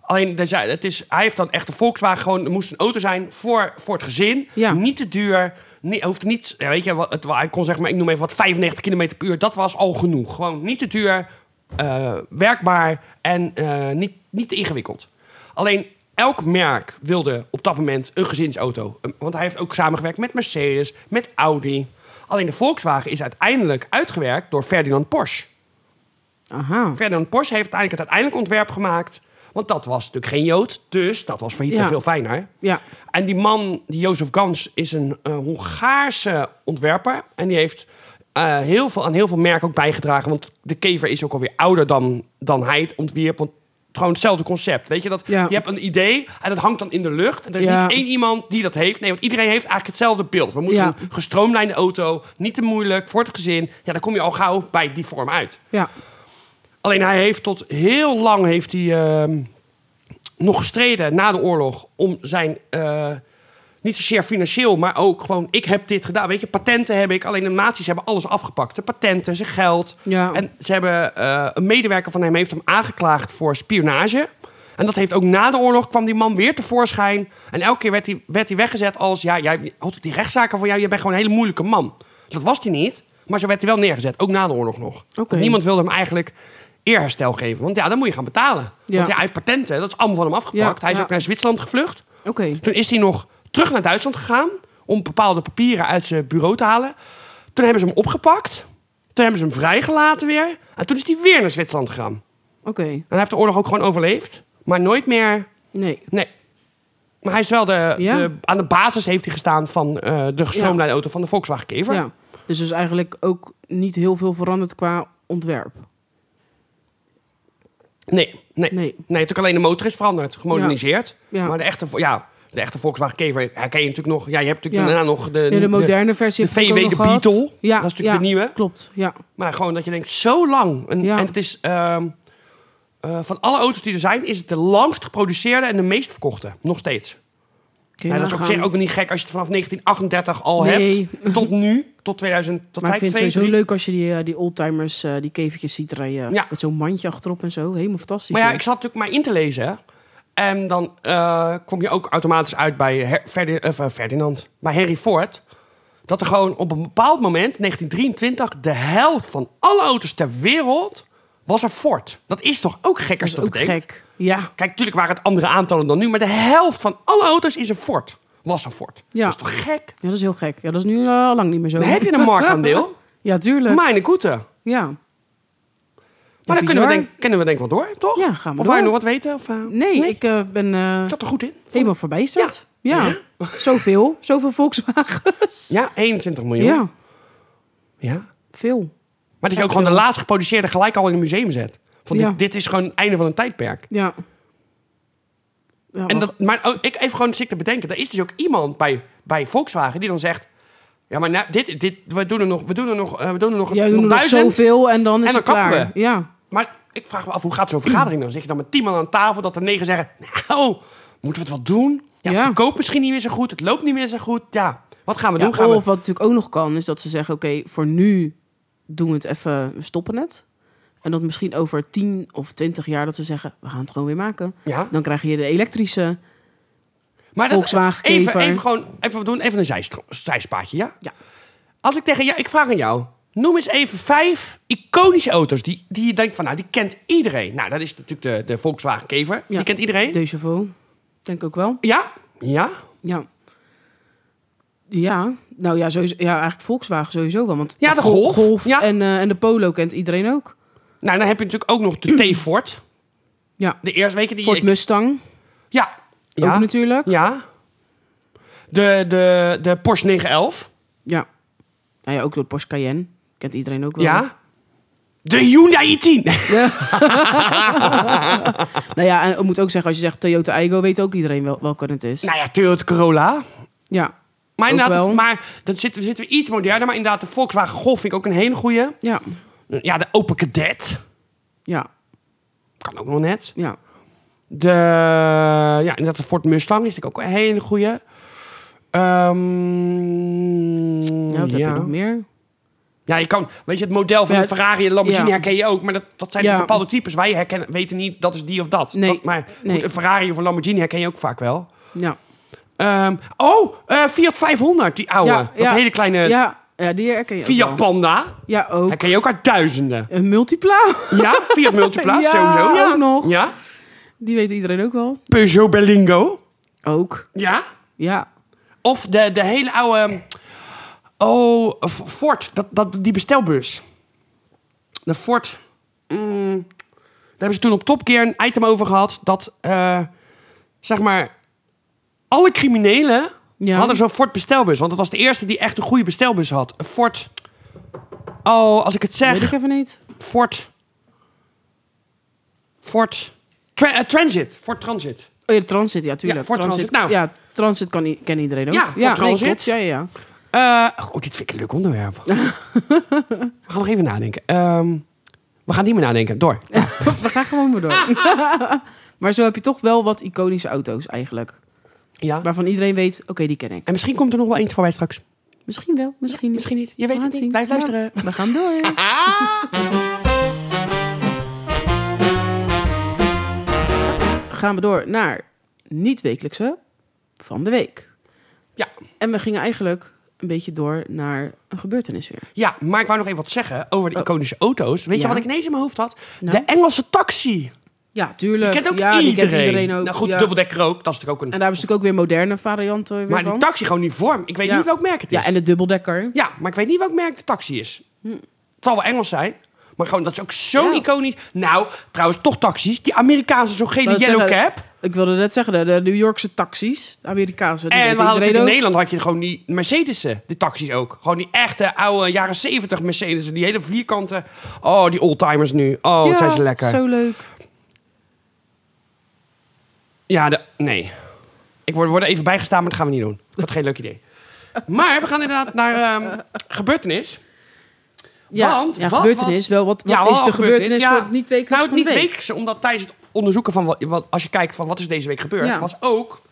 B: Alleen, dus ja, het is, hij heeft dan echt een Volkswagen gewoon... Er moest een auto zijn voor, voor het gezin.
A: Ja.
B: Niet te duur. Niet, hoeft niet... Ja, weet je, wat, het, hij kon zeg maar, ik noem even wat, 95 km per uur. Dat was al genoeg. Gewoon niet te duur, eh, werkbaar en eh, niet, niet te ingewikkeld. Alleen, elk merk wilde op dat moment een gezinsauto. Een- Want hij heeft ook samengewerkt met Mercedes, met Audi. Alleen de Volkswagen is uiteindelijk uitgewerkt door Ferdinand Porsche.
A: Aha.
B: Ferdinand Porsche heeft uiteindelijk het uiteindelijk ontwerp gemaakt. Want dat was natuurlijk geen Jood, dus dat was voor Hitler
A: Ja.
B: veel fijner.
A: Ja.
B: En die man, die Jozef Gans, is een eh, Hongaarse ontwerper. En die heeft eh, heel veel, aan heel veel merken ook bijgedragen. Want de kever is ook alweer ouder dan, dan hij het ontwierp. Want het is gewoon hetzelfde concept. Weet je, dat,
A: Ja.
B: je hebt een idee en dat hangt dan in de lucht. En er is
A: Ja.
B: niet één iemand die dat heeft. Nee, want iedereen heeft eigenlijk hetzelfde beeld. We moeten
A: Ja.
B: een gestroomlijnde auto, niet te moeilijk, voor het gezin. Ja, dan kom je al gauw bij die vorm uit.
A: Ja.
B: Alleen hij heeft tot heel lang heeft hij, ehm, nog gestreden na de oorlog om zijn. eh, niet zozeer financieel, maar ook gewoon: ik heb dit gedaan. Weet je, patenten heb ik. Alleen de nazi's hebben alles afgepakt: de patenten, zijn geld.
A: Ja.
B: En ze hebben eh, een medewerker van hem heeft hem aangeklaagd voor spionage. En dat heeft ook na de oorlog kwam die man weer tevoorschijn. En elke keer werd hij, werd hij weggezet als: ja, jij had die rechtszaken van jou, je bent gewoon een hele moeilijke man. Dus dat was hij niet. Maar zo werd hij wel neergezet, ook na de oorlog nog.
A: Oké.
B: Niemand Dus wilde hem eigenlijk eerherstel geven. Want ja, dan moet je gaan betalen.
A: Ja.
B: Want ja, hij heeft patenten, dat is allemaal van hem afgepakt.
A: Ja,
B: hij is
A: ja.
B: ook naar Zwitserland gevlucht.
A: Oké.
B: Toen is hij nog terug naar Duitsland gegaan om bepaalde papieren uit zijn bureau te halen. Toen hebben ze hem opgepakt. Toen hebben ze hem vrijgelaten weer. En toen is hij weer naar Zwitserland gegaan. En
A: Oké,
B: hij heeft de oorlog ook gewoon overleefd. Maar nooit meer...
A: nee.
B: Nee. Maar hij is wel de...
A: Ja.
B: de- aan de basis heeft hij gestaan van eh, de gestroomlijnde auto van de Volkswagen Kever.
A: Ja. Dus er is eigenlijk ook niet heel veel veranderd qua ontwerp.
B: Nee, nee.
A: Nee.
B: Nee, natuurlijk alleen de motor is veranderd, gemoderniseerd.
A: Ja.
B: Maar de echte, vo- ja, de echte Volkswagen Kever herken je natuurlijk nog. Ja, je hebt natuurlijk
A: Ja.
B: daarna nog de,
A: Ja, de moderne versie.
B: de
A: heb ik ook
B: VW
A: nog
B: de
A: gehad.
B: Beetle.
A: Ja,
B: Dat is natuurlijk
A: ja,
B: de nieuwe.
A: Klopt, ja.
B: Maar gewoon dat je denkt, zo lang. En,
A: Ja.
B: en het is, ehm, eh, van alle auto's die er zijn, is het de langst geproduceerde en de meest verkochte. Nog steeds.
A: Kun je
B: Ja, dat is op
A: nagaan.
B: zich ook nog niet gek als je het vanaf 1938 al
A: Nee.
B: hebt.
A: [LAUGHS]
B: Tot nu, tot 2000, tot
A: Maar ik vind
B: 2022.
A: het sowieso leuk als je die, eh, die oldtimers, eh, die kevertjes ziet rijden.
B: Ja.
A: Met zo'n mandje achterop en zo. Helemaal fantastisch.
B: Maar ja,
A: joh.
B: ik zat natuurlijk maar in te lezen. hè. En dan eh, kom je ook automatisch uit bij Her- Ferdi- of, eh, Ferdinand, bij Henry Ford. Dat er gewoon op een bepaald moment, 1923, de helft van alle auto's ter wereld was een Ford. Dat is toch ook gek als
A: dat
B: je
A: is
B: dat
A: ook
B: bedenkt?
A: gek. Ja,
B: Kijk, natuurlijk waren het andere aantallen dan nu, maar de helft van alle auto's is een Ford. Was een Ford.
A: Ja.
B: Dat is toch gek?
A: ja, dat is heel gek. Ja, dat is nu eh, al lang niet meer zo.
B: Dan heb je een marktaandeel.
A: [LAUGHS] Ja, tuurlijk.
B: Mijn goede.
A: ja.
B: Maar
A: Ja,
B: dan kunnen we,
A: bizar.
B: denk, kunnen we denk ik wel door, toch?
A: Ja, gaan we
B: of wil je
A: door.
B: nog wat weten? Of, eh,
A: Nee, ik eh, ben eh,
B: Ik zat er goed in.
A: helemaal verbijsterd. Ja. Zoveel. Zoveel Volkswagens.
B: Ja, 21 miljoen.
A: Ja,
B: Ja.
A: veel.
B: Maar dat je ook
A: Echt
B: gewoon de
A: wel.
B: laatst geproduceerde gelijk al in een museum zet. Van
A: Ja.
B: dit, dit is gewoon het einde van een tijdperk.
A: Ja. ja
B: En
A: wacht.
B: dat, maar ook- ik even gewoon zit te bedenken. Er is dus ook iemand bij, bij Volkswagen die dan zegt... Ja, maar nou, dit, dit, we doen er nog, we doen er nog, eh, we doen er nog,
A: Jij doet
B: nog
A: er nog
B: duizend.
A: zoveel en dan
B: En
A: is
B: dan
A: het klaar.
B: kappen we.
A: Ja.
B: Maar ik vraag me af, hoe gaat zo'n vergadering dan? Zit je dan met tien man aan tafel dat er negen zeggen... Nou, moeten we het wel doen? Ja,
A: Ja.
B: Het verkoopt misschien niet meer zo goed. Het loopt niet meer zo goed. Ja, wat gaan we
A: Ja,
B: doen? Gaan we-
A: of wat natuurlijk ook nog kan, is dat ze zeggen: Oké, voor nu doen we het even, we stoppen het. En dat misschien over 10 of 20 jaar dat ze zeggen: We gaan het gewoon weer maken.
B: ja.
A: Dan krijg je de elektrische.
B: Maar
A: Volkswagen
B: even,
A: Kever.
B: even gewoon, even we doen, even een zijstro- zijspaadje, ja?
A: Ja.
B: Als ik tegen jou, ik vraag aan jou, noem eens even vijf iconische auto's die, die je denkt van, nou, die kent iedereen. Nou, dat is natuurlijk de, de Volkswagen Kever, die kent iedereen.
A: Déjà vu. Denk ook wel.
B: Ja, ja,
A: Ja. Ja, nou ja, sowieso, ja, eigenlijk Volkswagen sowieso wel. Want
B: Ja, de
A: Gol-
B: Golf. Ja.
A: En, eh, en de Polo kent iedereen ook.
B: nou, dan heb je natuurlijk ook nog
A: [CLEARS THROAT]
B: de T Ford.
A: Ja.
B: De eerste, weet je die?
A: Ford
B: ik-
A: Mustang
B: ja,
A: ook
B: ja,
A: natuurlijk.
B: ja. De, de, de Porsche 911,
A: Ja. Nou ja, ook de Porsche Cayenne kent iedereen ook wel.
B: ja. De Hyundai i10.
A: Nou ja, en ik moet ook zeggen, als je zegt Toyota Aygo, weet ook iedereen wel, welke het
B: [LAUGHS]
A: is.
B: nou ja, Toyota Corolla.
A: Ja,
B: Maar
A: Ook
B: inderdaad,
A: wel.
B: maar dan zitten, we- zitten we iets moderner. Maar inderdaad, de Volkswagen Golf vind ik ook een hele goeie.
A: ja,
B: Ja, de Open Cadet.
A: ja,
B: Kan ook nog net.
A: ja.
B: De, ja, inderdaad, de Ford Mustang is natuurlijk ook een hele goeie. Ehm,
A: Ja, wat heb je nog
B: ja.
A: meer?
B: ja, je kan, weet je, het model van
A: Ja,
B: de Ferrari en de Lamborghini
A: ja.
B: herken je ook. Maar dat, dat zijn
A: Ja.
B: natuurlijk bepaalde types. Wij herkennen, weten niet, dat is die of dat.
A: Nee,
B: dat maar
A: nee.
B: goed, een Ferrari of een Lamborghini herken je ook vaak wel.
A: Ja,
B: Ehm, oh, eh, Fiat 500, die oude.
A: Ja,
B: dat
A: ja.
B: hele kleine
A: ja, ja die herken je ook
B: Fiat
A: wel.
B: Panda.
A: Ja, ook.
B: Herken je ook uit duizenden.
A: Een Multipla, [LAUGHS]
B: Ja, Fiat Multipla,
A: Ja,
B: sowieso. Ja,
A: ook nog.
B: Ja.
A: die weet iedereen ook wel.
B: Peugeot Berlingo.
A: Ook,
B: Ja.
A: ja.
B: Of de, de hele oude... Oh, F- Ford. Dat, dat, die bestelbus. De Ford... mm, daar hebben ze toen op Top Gear een item over gehad. Dat, eh, zeg maar... Alle criminelen
A: Ja.
B: hadden zo'n Ford bestelbus. Want dat was de eerste die echt een goede bestelbus had. Een Ford... Oh, als ik het zeg...
A: Weet ik even niet.
B: Ford. Ford. Tra- eh, transit. Ford Transit.
A: Oh ja, de Transit, ja, tuurlijk.
B: Ja, voor Transit, nou.
A: Ja, Transit kan, i- ken iedereen ook.
B: Ja, voor
A: nee,
B: Transit.
A: klopt. ja, ja, ja.
B: Eh, oh, dit vind ik een leuk
A: [LAUGHS]
B: onderwerp. we gaan nog even nadenken. Ehm, we gaan niet meer nadenken. Door.
A: [LAUGHS] We gaan gewoon maar door.
B: Ah,
A: [LAUGHS] maar zo heb je toch wel wat iconische auto's eigenlijk.
B: Ja.
A: Waarvan iedereen weet, oké, die ken ik.
B: En misschien komt er nog wel eentje voorbij straks.
A: Misschien wel, misschien niet.
B: Misschien niet. Je weet
A: We
B: het
A: gaan
B: niet. Blijf
A: zien.
B: luisteren.
A: Ja, we gaan door. [LAUGHS] Ah! gaan we door naar niet-wekelijkse van de week.
B: Ja.
A: En we gingen eigenlijk een beetje door naar een gebeurtenis weer.
B: Ja, maar ik wou nog even wat zeggen over de
A: Oh.
B: iconische auto's. Weet
A: Ja.
B: je wat ik ineens in mijn hoofd had?
A: Nou?
B: De Engelse taxi.
A: Ja, tuurlijk.
B: Die kent ook
A: ja,
B: iedereen.
A: die kent iedereen ook.
B: Nou goed,
A: ja.
B: dubbeldekker ook. Dat is natuurlijk ook
A: En
B: een...
A: daar hebben ze natuurlijk ook weer moderne varianten weer
B: Maar
A: van.
B: die taxi gewoon niet vorm. Ik weet
A: Ja.
B: niet welk merk het is.
A: ja, en de dubbeldekker.
B: Ja, maar ik weet niet welk merk de taxi is. Het zal wel Engels zijn. Maar gewoon, dat is ook zo
A: Ja.
B: iconisch. Nou, trouwens, toch taxis. Die Amerikaanse, zo'n gele
A: Wou
B: yellow
A: zeggen,
B: cap.
A: Ik wilde net zeggen, de, de New Yorkse taxis, de Amerikaanse. die
B: En
A: weet
B: we hadden het in
A: iedereen ook.
B: Nederland had je gewoon die Mercedes'en, de taxis ook. Gewoon die echte oude jaren 70 Mercedes'en. Die hele vierkante. Oh, die oldtimers nu. Oh, wat
A: ja,
B: zijn ze lekker.
A: Zo leuk.
B: Ja, de- nee. Ik word, word er even bijgestaan, maar dat gaan we niet doen. Dat wordt geen leuk idee. Maar we gaan inderdaad naar ehm, gebeurtenis.
A: Ja,
B: Want
A: ja
B: wat
A: gebeurtenis
B: was-
A: wel. Wat, wat
B: Ja, wel
A: is de
B: gebeurtenis,
A: gebeurtenis
B: ja.
A: voor het niet wekelijks
B: Nou, het
A: van de
B: niet
A: week?
B: wekelijks, omdat tijdens het onderzoeken van wat, wat- als je kijkt van wat is deze week gebeurd,
A: Ja.
B: was ook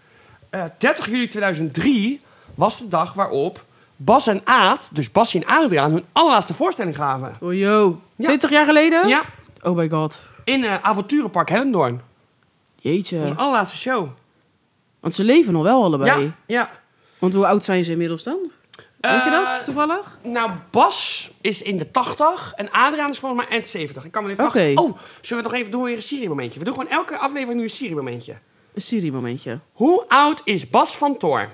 B: eh, 30 juli 2003 was de dag waarop Bas en Aad, dus Bas en Adriaan, hun allerlaatste voorstelling gaven.
A: Oh, yo.
B: Ja.
A: 20 jaar geleden?
B: Ja,
A: Oh my god.
B: in eh, avonturenpark Hellendoorn. Dat was
A: Jeetje.
B: hun allerlaatste show.
A: Want ze leven nog wel allebei.
B: Ja, ja.
A: Want hoe oud zijn ze inmiddels dan? Weet
B: Eh,
A: je dat, toevallig?
B: Nou, Bas is in de 80 en Adriaan is volgens mij eind 70. Ik kan me even
A: Oké.
B: wachten. Oh, zullen we nog even doen weer een Siri-momentje? We doen gewoon elke aflevering nu een Siri-momentje.
A: Een Siri-momentje.
B: Hoe oud is Bas van Toor?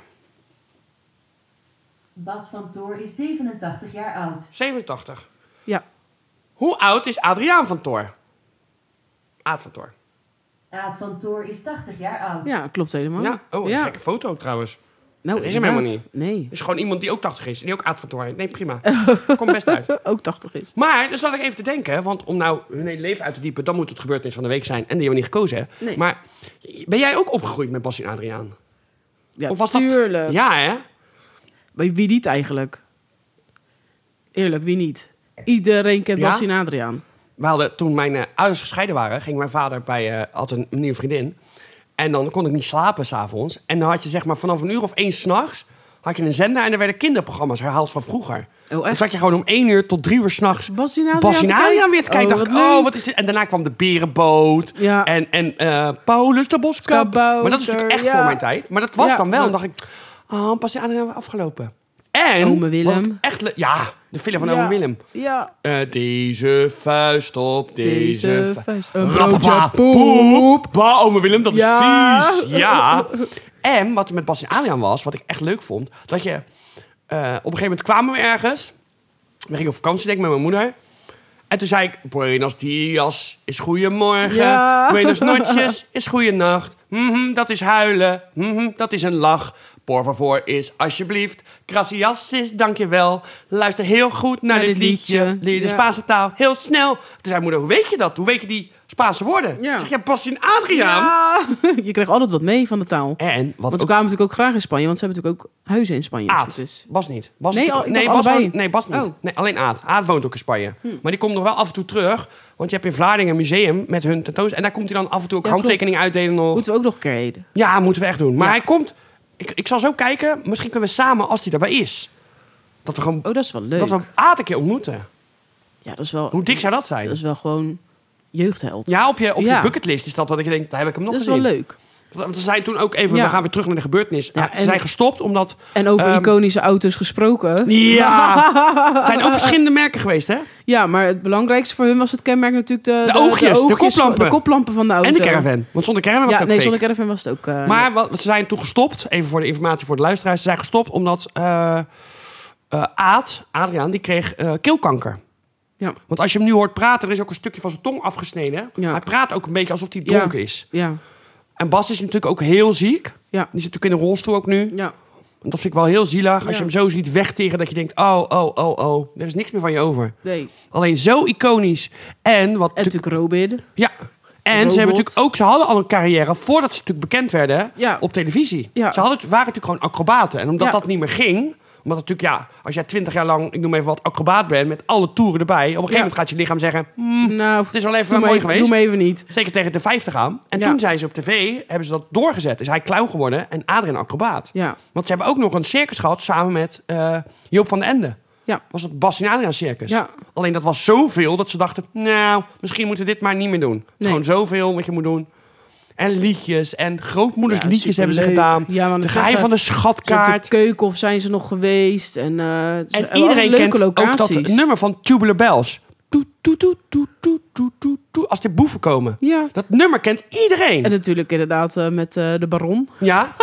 C: Bas van Toor is 87 jaar oud.
B: 87.
A: Ja.
B: Hoe oud is Adriaan van Toor? Aad van Toor.
C: Aad van Toor is 80 jaar oud.
A: ja, klopt helemaal.
B: Ja, oh, een
A: ja.
B: gekke foto trouwens.
A: Nou,
B: Dat is hem helemaal
A: inderdaad. Nee.
B: Er is gewoon iemand die ook 80 is en die ook Aad van Toor heet. Nee, prima.
A: Oh.
B: [LAUGHS] Komt best
A: [LAUGHS]
B: uit.
A: Ook 80 is.
B: Maar, dan zat ik even te denken, want om nou hun hele leven uit te diepen, dan moet het gebeurtenis van de week zijn. En die hebben we niet gekozen, hè?
A: Nee.
B: Maar ben jij ook opgegroeid met Bas en Adriaan?
A: Ja,
B: Of was dat-
A: tuurlijk.
B: Ja, hè?
A: Maar Wie niet eigenlijk? Eerlijk, wie niet? Iedereen kent
B: Ja?
A: Bas en Adriaan.
B: We hadden, toen mijn eh, ouders gescheiden waren, ging mijn vader bij, eh, had een nieuwe vriendin. En dan kon ik niet slapen s'avonds. En dan had je zeg maar vanaf een uur of één s'nachts, had je een zender en er werden kinderprogramma's herhaald van vroeger.
A: Oh,
B: Dan
A: echt?
B: zat je gewoon om één uur tot drie uur s'nachts
A: Bas en Adriaan,
B: Bas en
A: te
B: Adriaan
A: kijken?
B: weer te kijken.
A: Oh,
B: dacht, ik,
A: wat leuk.
B: oh, wat is dit? En daarna kwam de berenboot
A: Ja.
B: en, en eh, Paulus de boskap.
A: Kabouter,
B: Maar dat is natuurlijk echt
A: ja.
B: voor mijn tijd. Maar dat was
A: Ja,
B: dan wel. En
A: maar-
B: dacht ik, oh, Bas en Adriaan waren afgelopen. En,
A: Ome Willem.
B: wat ik Echt, le- ja, de film van
A: Ja.
B: Ome Willem.
A: Ja.
B: Eh, deze vuist op deze,
A: Deze
B: vu-
A: vuist. Een
B: Rappapa,
A: broodje poep.
B: Bah, ome Willem, dat
A: Ja.
B: is vies.
A: [LAUGHS]
B: Ja. En wat er met Bas en Adriaan was, wat ik echt leuk vond, dat je... eh, op een gegeven moment kwamen we ergens. We gingen op vakantie, denk ik, met mijn moeder. En toen zei ik, buenos dias is goeiemorgen.
A: Ja.
B: [LAUGHS] Buenos
A: [LAUGHS]
B: noches is goeienacht. Mhm, dat is huilen. Mhm, dat is een lach. Por favor is alsjeblieft. Gracias is dankjewel. Luister heel goed naar
A: Naar
B: dit
A: dit
B: liedje.
A: liedje.
B: Leer de
A: Ja.
B: Spaanse taal heel snel. Toen zei mijn moeder, hoe weet je dat? Hoe weet je die Spaanse woorden?
A: Ja.
B: Ik Zeg, ja, pas in Adriaan.
A: Ja. [LAUGHS] Je kreeg altijd wat mee van de taal.
B: En, wat
A: Want ze
B: ook
A: kwamen natuurlijk ook graag in Spanje, want ze hebben natuurlijk ook huizen in Spanje. Dus
B: Aad.
A: het is-
B: Bas niet. Bas
A: Nee,
B: is-
A: al- ik
B: nee,
A: dacht
B: Bas
A: allebei.
B: woont- nee, Bas niet.
A: Oh. Hm.
B: Nee, alleen Aad. Aad woont ook in Spanje. Maar die komt nog wel af en toe terug. Want je hebt in Vlaardingen een museum met hun tentoonstelling. En daar komt hij dan af en toe ook
A: Ja,
B: handtekeningen uitdelen nog.
A: Moeten we ook nog een keer heden.
B: Ja, moeten we echt doen. Maar
A: Ja.
B: hij komt... Ik, ik zal zo kijken. Misschien kunnen we samen, als hij daarbij is... Dat we gewoon...
A: Oh, dat is wel leuk.
B: Dat we Aad een keer ontmoeten.
A: Ja, dat is wel,
B: Hoe dik zou dat
A: dat
B: zijn?
A: is wel gewoon jeugdheld.
B: Ja, op je, op je
A: Ja.
B: bucketlist is dat dat ik denk, daar heb ik hem nog
A: dat is
B: gezien.
A: wel leuk.
B: Want we zijn toen ook even,
A: Ja.
B: we gaan weer terug naar de gebeurtenis.
A: Ja,
B: Ah, Ze
A: en-
B: zijn gestopt omdat...
A: En over
B: Ehm,
A: iconische auto's gesproken.
B: Ja! [LAUGHS] het zijn ook verschillende merken geweest, hè?
A: Ja, maar het belangrijkste voor hun was het kenmerk natuurlijk de,
B: De oogjes, de koplampen.
A: de koplampen van de auto.
B: En de caravan. Want zonder caravan was
A: Ja,
B: het ook fake.
A: nee, zonder caravan was het ook... eh,
B: Maar wat, ze zijn toen gestopt, even voor de informatie voor de luisteraars. Ze zijn gestopt omdat eh, eh, Aad, Adriaan, die kreeg eh, keelkanker.
A: Ja.
B: Want als je hem nu hoort praten, er is ook een stukje van zijn tong afgesneden.
A: Ja.
B: Hij praat ook een beetje alsof hij
A: Ja.
B: dronken is.
A: Ja,
B: En Bas is natuurlijk ook heel ziek.
A: ja,
B: Die zit natuurlijk in een rolstoel ook nu.
A: ja.
B: En dat vind ik wel heel zielig. Als
A: Ja.
B: je hem zo ziet wegteren, dat je denkt, oh, oh, oh, oh. Er is niks meer van je over.
A: Nee. En
B: Alleen zo iconisch. En wat natuurlijk...
A: natuurlijk Robin.
B: Ja. En ze, hebben
A: Robot.
B: natuurlijk ook, ze hadden al een carrière voordat ze natuurlijk bekend werden hè,
A: Ja.
B: op televisie.
A: Ja.
B: Ze hadden, waren natuurlijk gewoon acrobaten. En omdat
A: Ja.
B: dat niet meer ging, omdat natuurlijk, ja, als jij twintig jaar lang, ik noem even wat, acrobaat bent met alle toeren erbij, op een gegeven
A: Ja.
B: moment gaat je lichaam zeggen, "Hmm,
A: Nou,
B: het is wel even
A: doe, me
B: mooi
A: even,
B: geweest.
A: doe me even niet.
B: Zeker tegen de 50 aan. En
A: Ja.
B: toen zijn ze op tv, hebben ze dat doorgezet. Is hij clown geworden en Adrien acrobaat.
A: Ja,
B: Want ze hebben ook nog een circus gehad samen met eh, Joop van den Ende.
A: Ja.
B: Was het Bas en Adriaan circus.
A: Ja.
B: Alleen dat was zoveel dat ze dachten, nou, misschien moeten we dit maar niet meer doen. Het is
A: Nee.
B: Gewoon zoveel wat je moet doen. En liedjes en grootmoeders
A: Ja,
B: liedjes hebben ze
A: superleuk.
B: gedaan.
A: Ja, want
B: de
A: ik
B: geheim
A: zeg,
B: van de
A: Ze op de
B: schatkaart.
A: keuken of zijn ze nog geweest. En, eh, het
B: En
A: is wel een
B: iedereen
A: leuke
B: kent
A: locaties.
B: ook dat nummer van Tubular Bells. toet, toet, toet, toet, toet, toet, toet, toet, Als er boeven komen.
A: Ja.
B: Dat nummer kent iedereen.
A: En natuurlijk inderdaad eh, met eh, de baron. [LAUGHS]
B: Ja?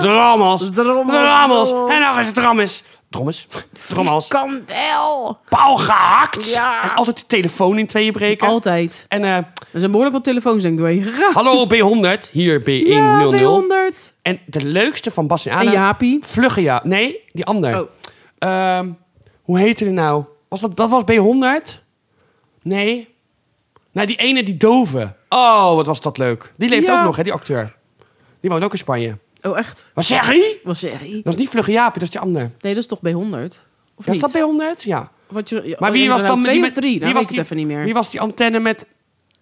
B: Drammels.
A: Drommels.
B: Drammels. En nog eens Drammels. Drommels. Drommels.
A: Kandel.
B: Paal gehakt.
A: Ja.
B: En altijd de telefoon in tweeën breken.
A: Altijd.
B: en eh,
A: Er zijn behoorlijk wat telefoons denk ik doorheen gegaan.
B: hallo B100. Hier B100.
A: Ja, 200.
B: En de leukste van Bas en
A: En
B: Anna.
A: Jaapie.
B: Vlugge ja. Nee, die ander.
A: Oh.
B: Ehm, hoe heette die nou? Was dat, dat was B100? Nee. Nou, die ene, die dove. Oh, wat was dat leuk. Die leeft
A: Ja.
B: ook nog, hè, die acteur. Die woont ook in Spanje.
A: Oh, echt?
B: Wat zeg je?
A: Was serie?
B: Dat is niet Vlugge Jaapie, dat is die ander.
A: Nee, dat is toch bij 100? Of
B: Ja, is
A: niet? oh,
B: dat B100? Ja.
A: Wat je,
B: Maar wie was dan...
A: twee
B: die
A: of drie? Nou,
B: wie was
A: weet ik het even niet meer.
B: Wie was die antenne met...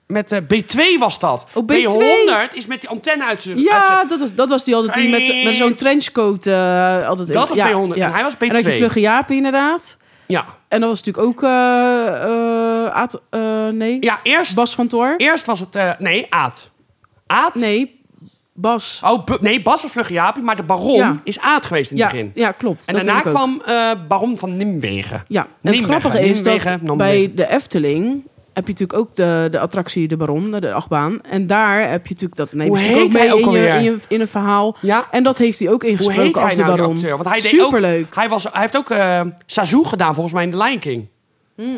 B: Met eh, B2 was dat.
A: Oh, B2.
B: B100 is met die antenne uit zijn... uit zijn-
A: ja, dat was, dat was die altijd die met, met zo'n trenchcoat. eh, altijd in-
B: Dat was
A: ja,
B: B100.
A: ja.
B: En hij was B2.
A: En dan had je Vlugge Jaapie inderdaad.
B: Ja.
A: En dat was natuurlijk ook... eh, eh, Aad- eh, nee,
B: Ja, eerst,
A: Bas van Toor.
B: eerst was het... eh, nee, Aad. Aad?
A: Nee, Bas.
B: Oh, bu- nee, Bas was Vlugge Jaapie, maar de baron
A: Ja.
B: is Aad geweest in het
A: ja,
B: begin.
A: ja, klopt.
B: En
A: dat
B: daarna
A: weet ik
B: kwam
A: ook.
B: eh, baron van Nimwegen.
A: Ja, en het
B: Nimwegen,
A: grappige is
B: Nimwegen,
A: dat
B: Namwegen.
A: bij de Efteling heb je natuurlijk ook de, de attractie De Baron, de achtbaan. En daar heb je natuurlijk dat neem je
B: Hoe
A: natuurlijk ook
B: heet
A: mee
B: hij ook
A: in, je,
B: alweer?
A: in, je, in een verhaal.
B: Ja.
A: En dat heeft hij ook
B: Hoe heet
A: ingesproken
B: hij
A: als De
B: nou, die
A: Baron.
B: acteur? Want hij deed
A: Superleuk.
B: Ook, hij, was, hij heeft ook eh Sazu gedaan, volgens mij, in The Lion King. Dat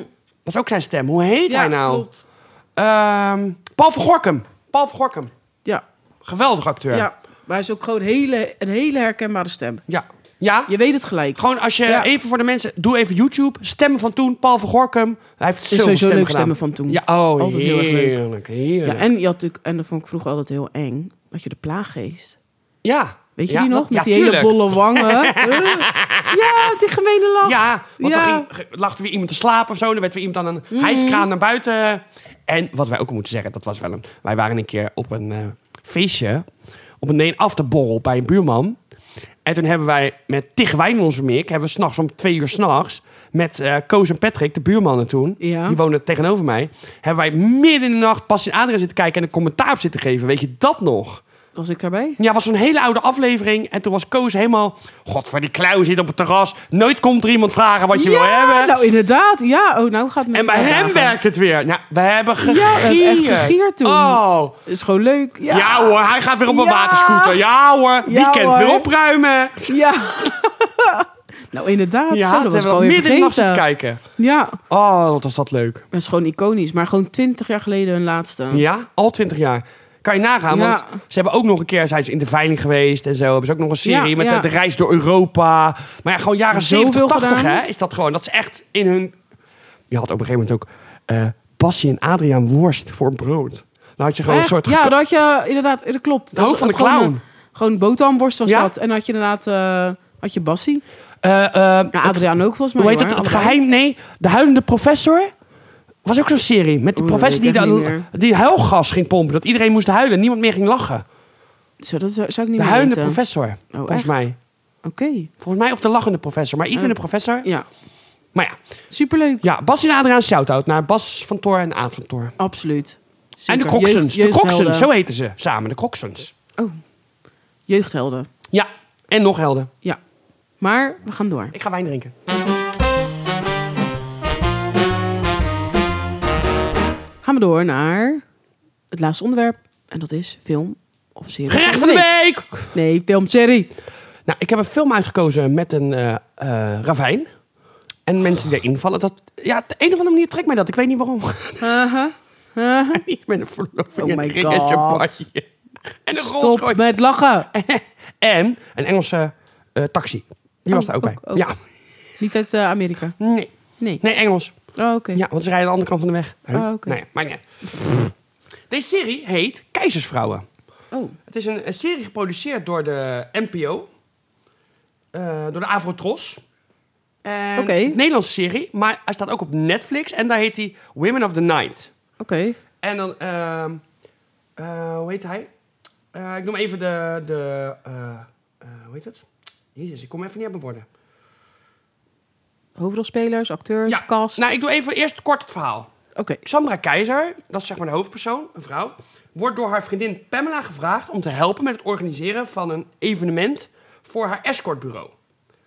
B: is ook zijn stem. Hoe heet hij nou?
A: Hmm. klopt.
B: Ehm, Paul van Gorkum. Paul van Gorkum.
A: Ja,
B: Geweldig acteur.
A: ja. Maar hij is ook gewoon hele, een hele herkenbare stem.
B: Ja. Ja?
A: Je weet het gelijk.
B: Gewoon als je
A: Ja.
B: even voor de mensen... Doe even YouTube. Stemmen van toen. Paul van Gorkum. Hij heeft
A: Het is
B: zoveel
A: sowieso
B: stemmen
A: leuk
B: gedaan.
A: stemmen van toen.
B: Ja, oh,
A: Altijd heel erg leuk.
B: heerlijk. heerlijk.
A: Ja, en, je had natuurlijk, en dat vond ik vroeger altijd heel eng. Dat je de plaaggeest.
B: Ja.
A: Weet je
B: Ja,
A: die nog?
B: dat-
A: Met
B: ja,
A: die hele
B: tuurlijk.
A: bolle
B: [LAUGHS]
A: wangen. Eh. ja, met die gemene lach.
B: Ja, want
A: Ja. Mhm.
B: dan ging, ge- lag er weer iemand te slapen of zo. Dan werd weer iemand aan een hijskraan naar buiten. En wat wij ook moeten zeggen, dat was wel een... Wij waren een keer op een eh, feestje, op een een afterborrel bij een buurman. En toen hebben wij met Tig Wijn in onze mik, hebben we s'nachts om twee uur s'nachts... Met eh, Koos en Patrick, de buurmannen toen,
A: Ja.
B: die woonden tegenover mij... hebben wij midden in de nacht pas in Adria zitten kijken en een commentaar op zitten geven. Weet je dat nog?
A: Was ik daarbij?
B: Ja, was zo'n hele oude aflevering. En toen was Koos helemaal... God, van die klauw zit op het terras. Nooit komt er iemand vragen wat je wil hebben.
A: nou inderdaad. Ja, oh, nou gaat het
B: en bij
A: elkaar
B: hem
A: dagen.
B: werkt het weer. Nou, we hebben gegierd.
A: we hebben echt gegierd toen.
B: Oh.
A: Is gewoon leuk. Ja,
B: Ja. hoor, hij gaat weer op een
A: Ja.
B: waterscooter. Ja hoor, weekend
A: hoor.
B: weer opruimen.
A: Ja. [LAUGHS] nou inderdaad.
B: ja,
A: zo,
B: toen
A: dat was
B: hebben
A: ik
B: we
A: alweer
B: midden in de nacht
A: vergeten.
B: zitten kijken.
A: Ja,
B: Oh, wat was dat leuk.
A: dat is gewoon iconisch. Maar gewoon twintig jaar geleden hun laatste.
B: Ja, al twintig jaar. Kan je nagaan,
A: Ja.
B: want ze hebben ook nog een keer... zijn ze in de veiling geweest en zo. Hebben ze ook nog een serie
A: Ja,
B: met
A: ja.
B: De, de reis door Europa. Maar ja, gewoon jaren
A: Zoveel
B: 70, 80
A: gedaan.
B: hè, is dat gewoon. Dat ze echt in hun... Je had op een gegeven moment ook... eh Bassie en Adriaan worst voor brood. Dan had je gewoon
A: Echt?
B: een soort...
A: ja, dat had je inderdaad, dat klopt.
B: Het hoofd
A: Dat
B: van de
A: was gewoon,
B: clown.
A: eh, Gewoon botamworst was
B: Ja?
A: dat. En dan had je inderdaad, eh, had je Bassie.
B: Eh, eh,
A: Ja, Adriaan ook volgens mij.
B: hoe heet
A: hoor,
B: dat? Het
A: allebei.
B: geheim? Nee, De Huilende Professor? Was ook zo'n serie. Met de
A: Oeh, dat
B: professor die,
A: weet ik echt
B: de-
A: niet
B: die huilgas ging pompen. Dat iedereen moest huilen en niemand meer ging lachen.
A: Zo, dat zou, zou ik niet
B: De
A: meer
B: Huilende
A: weten. Oh,
B: Professor, volgens
A: echt?
B: mij.
A: Oké,
B: Volgens mij of De Lachende Professor. Maar iets
A: Hm.
B: met een professor.
A: ja.
B: Maar ja,
A: Superleuk.
B: ja Bas en Adriaan shout-out naar Bas van Toor en Aad van Toor.
A: Absoluut.
B: En de
A: Zeker.
B: Crocsons.
A: Jeugd-
B: De Crocsons,
A: jeugdhelden.
B: zo heten ze samen. De Crocsons.
A: Oh, jeugdhelden.
B: Ja, en nog helden.
A: Ja. Maar we gaan door.
B: Ik ga wijn drinken.
A: Gaan we door naar het laatste onderwerp. En dat is film of serie.
B: Gerecht van de week!
A: Nee, film,
B: [LAUGHS]
A: serie.
B: Nou, ik heb een film uitgekozen met een eh, eh, ravijn. En mensen die erin vallen. Dat, ja, op de een of andere manier trekt mij dat. Ik weet niet waarom. [LAUGHS] Iets met een verloving
A: Oh
B: en
A: my
B: een ring en
A: God.
B: champagne. En een
A: Stop
B: rolschoot.
A: met lachen.
B: En een Engelse eh, taxi. Die was
A: Oh,
B: daar ook bij.
A: ook- ook.
B: Ja.
A: Niet uit eh, Amerika.
B: Nee.
A: Nee.
B: Nee, Engels.
A: Oh, oké.
B: Ja, want ze rijden aan de andere kant van de weg. Huh?
A: Oh, oké.
B: Nou ja, maar nee. Deze serie heet Keizersvrouwen.
A: Oh,
B: Het is een, een serie geproduceerd door de NPO. eh, door de Avrotros. En
A: Oké.
B: Een Nederlandse serie, maar hij staat ook op Netflix. En daar heet hij Women of the Night.
A: oké.
B: En dan, ehm, eh, hoe heet hij? Eh, ik noem even de, de eh, eh, hoe heet het? Jezus, ik kom even niet op mijn woorden.
A: Hoofdrolspelers, acteurs,
B: Ja,
A: cast.
B: Nou, ik doe even eerst kort het verhaal.
A: Oké.
B: Sandra Keizer, dat is zeg maar de hoofdpersoon, een vrouw, wordt door haar vriendin Pamela gevraagd om te helpen met het organiseren van een evenement voor haar escortbureau.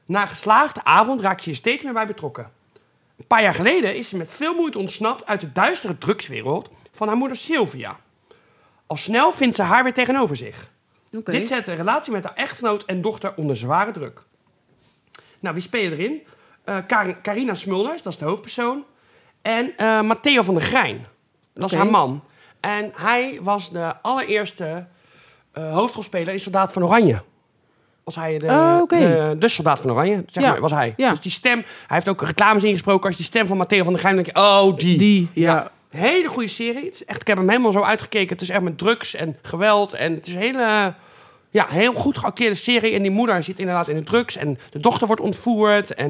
B: Na een geslaagde avond raakt ze hier steeds meer bij betrokken. Een paar jaar geleden is ze met veel moeite ontsnapt uit de duistere drugswereld van haar moeder Sylvia. Al snel vindt ze haar weer tegenover zich.
A: Oké.
B: Dit zet de relatie met haar echtgenoot en dochter onder zware druk. Nou, wie spelen erin? Eh, Kar- Carina Smulders, dat is de hoofdpersoon. En eh, Matteo van der Grijn, dat is
A: Oké.
B: haar man. En hij was de allereerste eh, hoofdrolspeler in Soldaat van Oranje. Was hij de,
A: Oh, oké.
B: de, de Soldaat van Oranje, zeg
A: Ja.
B: maar, was hij.
A: Ja.
B: Dus die stem, hij heeft ook reclames ingesproken. Als je die stem van Matteo van der Grijn, dan denk je, oh, die.
A: Die, ja.
B: Hele goede serie. Het is echt, ik heb hem helemaal zo uitgekeken. Het is echt met drugs en geweld. En het is een hele, ja, heel goed geacteerde serie. En die moeder zit inderdaad in de drugs. En de dochter wordt ontvoerd. En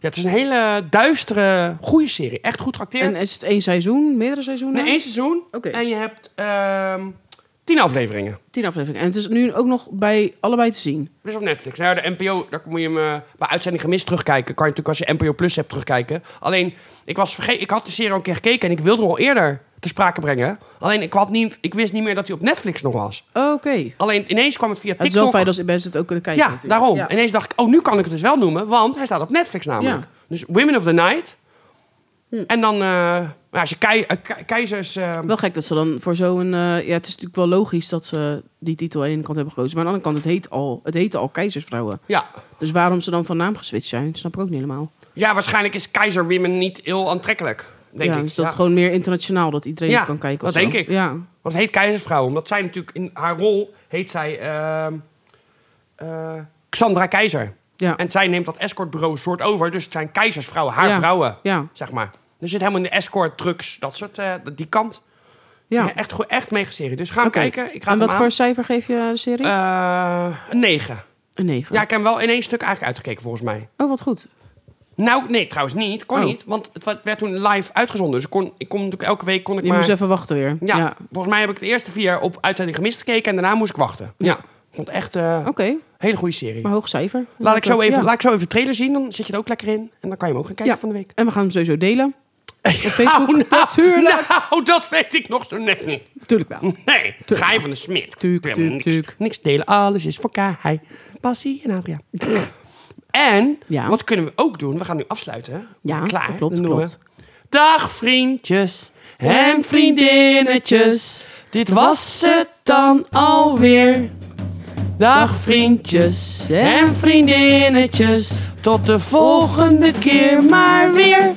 B: ja, het is een hele duistere, goede serie. Echt goed geacteerd.
A: En is het één seizoen, meerdere seizoenen?
B: Nee, één seizoen.
A: Oké.
B: En je hebt ehm, tien afleveringen.
A: Tien afleveringen. En het is nu ook nog bij allebei te zien.
B: Dus op Netflix. Nou, ja, de NPO, daar moet je hem eh, bij uitzending gemist terugkijken. Kan je natuurlijk als je NPO Plus hebt terugkijken. Alleen, ik, was verge- ik had de serie al een keer gekeken en ik wilde hem al eerder te sprake brengen. Alleen, ik, had niet, ik wist niet meer dat hij op Netflix nog was.
A: Oké.
B: Alleen, ineens kwam het via
A: Het is
B: Oh, TikTok.
A: wel fijn als mensen het ook kunnen kijken.
B: ja,
A: natuurlijk.
B: daarom.
A: Ja.
B: Ineens dacht ik, oh, nu kan ik het dus wel noemen, want hij staat op Netflix namelijk.
A: Ja. Hm.
B: Dus Women of the Night. En dan, eh, nou, als je kei- eh, ke- keizers... eh,
A: Wel gek dat ze dan voor zo'n... eh, ja, het is natuurlijk wel logisch dat ze die titel aan de ene kant hebben gekozen. Maar aan de andere kant, het, heet al, het heette al Keizersvrouwen.
B: ja.
A: Dus waarom ze dan van naam geswitcht zijn, snap ik ook niet helemaal.
B: ja, waarschijnlijk is keizer Women niet heel aantrekkelijk, denk
A: ja,
B: ik.
A: dus dat
B: Ja.
A: is gewoon meer internationaal, dat iedereen
B: Ja,
A: het kan kijken. of
B: dat
A: zo.
B: denk ik.
A: Ja,
B: Want het heet Keizersvrouw, omdat zij natuurlijk in haar rol heet zij ehm, eh, Xandra Keizer.
A: ja.
B: En zij neemt dat escortbureau soort over, dus het zijn keizersvrouwen, haar
A: Ja.
B: vrouwen,
A: ja,
B: zeg maar. Dus Er zit helemaal in de escort, trucks, dat soort, eh, die kant. Ja.
A: ja.
B: echt, goed- echt mega serie. Dus ga hem
A: Oké.
B: kijken. Ik raad
A: En wat
B: hem
A: voor
B: aan.
A: cijfer geef je de serie?
B: Eh, een 9.
A: een 9.
B: Ja, ik heb hem wel in één stuk eigenlijk uitgekeken, volgens mij.
A: Oh, wat goed.
B: Nou, nee, trouwens niet. Kon
A: Oh.
B: niet, want het wa- werd toen live uitgezonden. Dus ik kon, ik kon natuurlijk elke week... Kon ik
A: Je
B: maar...
A: moest even wachten weer.
B: Ja,
A: Ja.
B: volgens mij heb ik de eerste vier op uitzending gemist gekeken en daarna moest ik wachten. Ja. Ik vond echt eh,
A: Oké,
B: een hele goede serie.
A: Oh. maar hoog cijfer.
B: Laat ik, zo even,
A: Ja.
B: laat ik zo even de trailer zien, dan zit je er ook lekker in. En dan kan je hem ook gaan kijken
A: Ja.
B: van de week.
A: En we gaan hem sowieso delen. Op Facebook,
B: [LAUGHS] nou,
A: natuurlijk.
B: Nou, dat weet ik nog zo net niet.
A: Tuurlijk wel.
B: Nee, ga je van de smit.
A: Tuurlijk,
B: Ik wil
A: tuurlijk,
B: niks,
A: tuurlijk.
B: niks delen, alles is voor Kai, Bassie en
A: [LAUGHS]
B: Adria. en,
A: Ja.
B: wat kunnen we ook doen? We gaan nu afsluiten.
A: Ja,
B: Klaar,
A: dat klopt,
B: dan doen we-
A: klopt.
B: Dag vriendjes en vriendinnetjes. Dit was het dan alweer. Dag vriendjes en vriendinnetjes. Tot de volgende keer maar weer.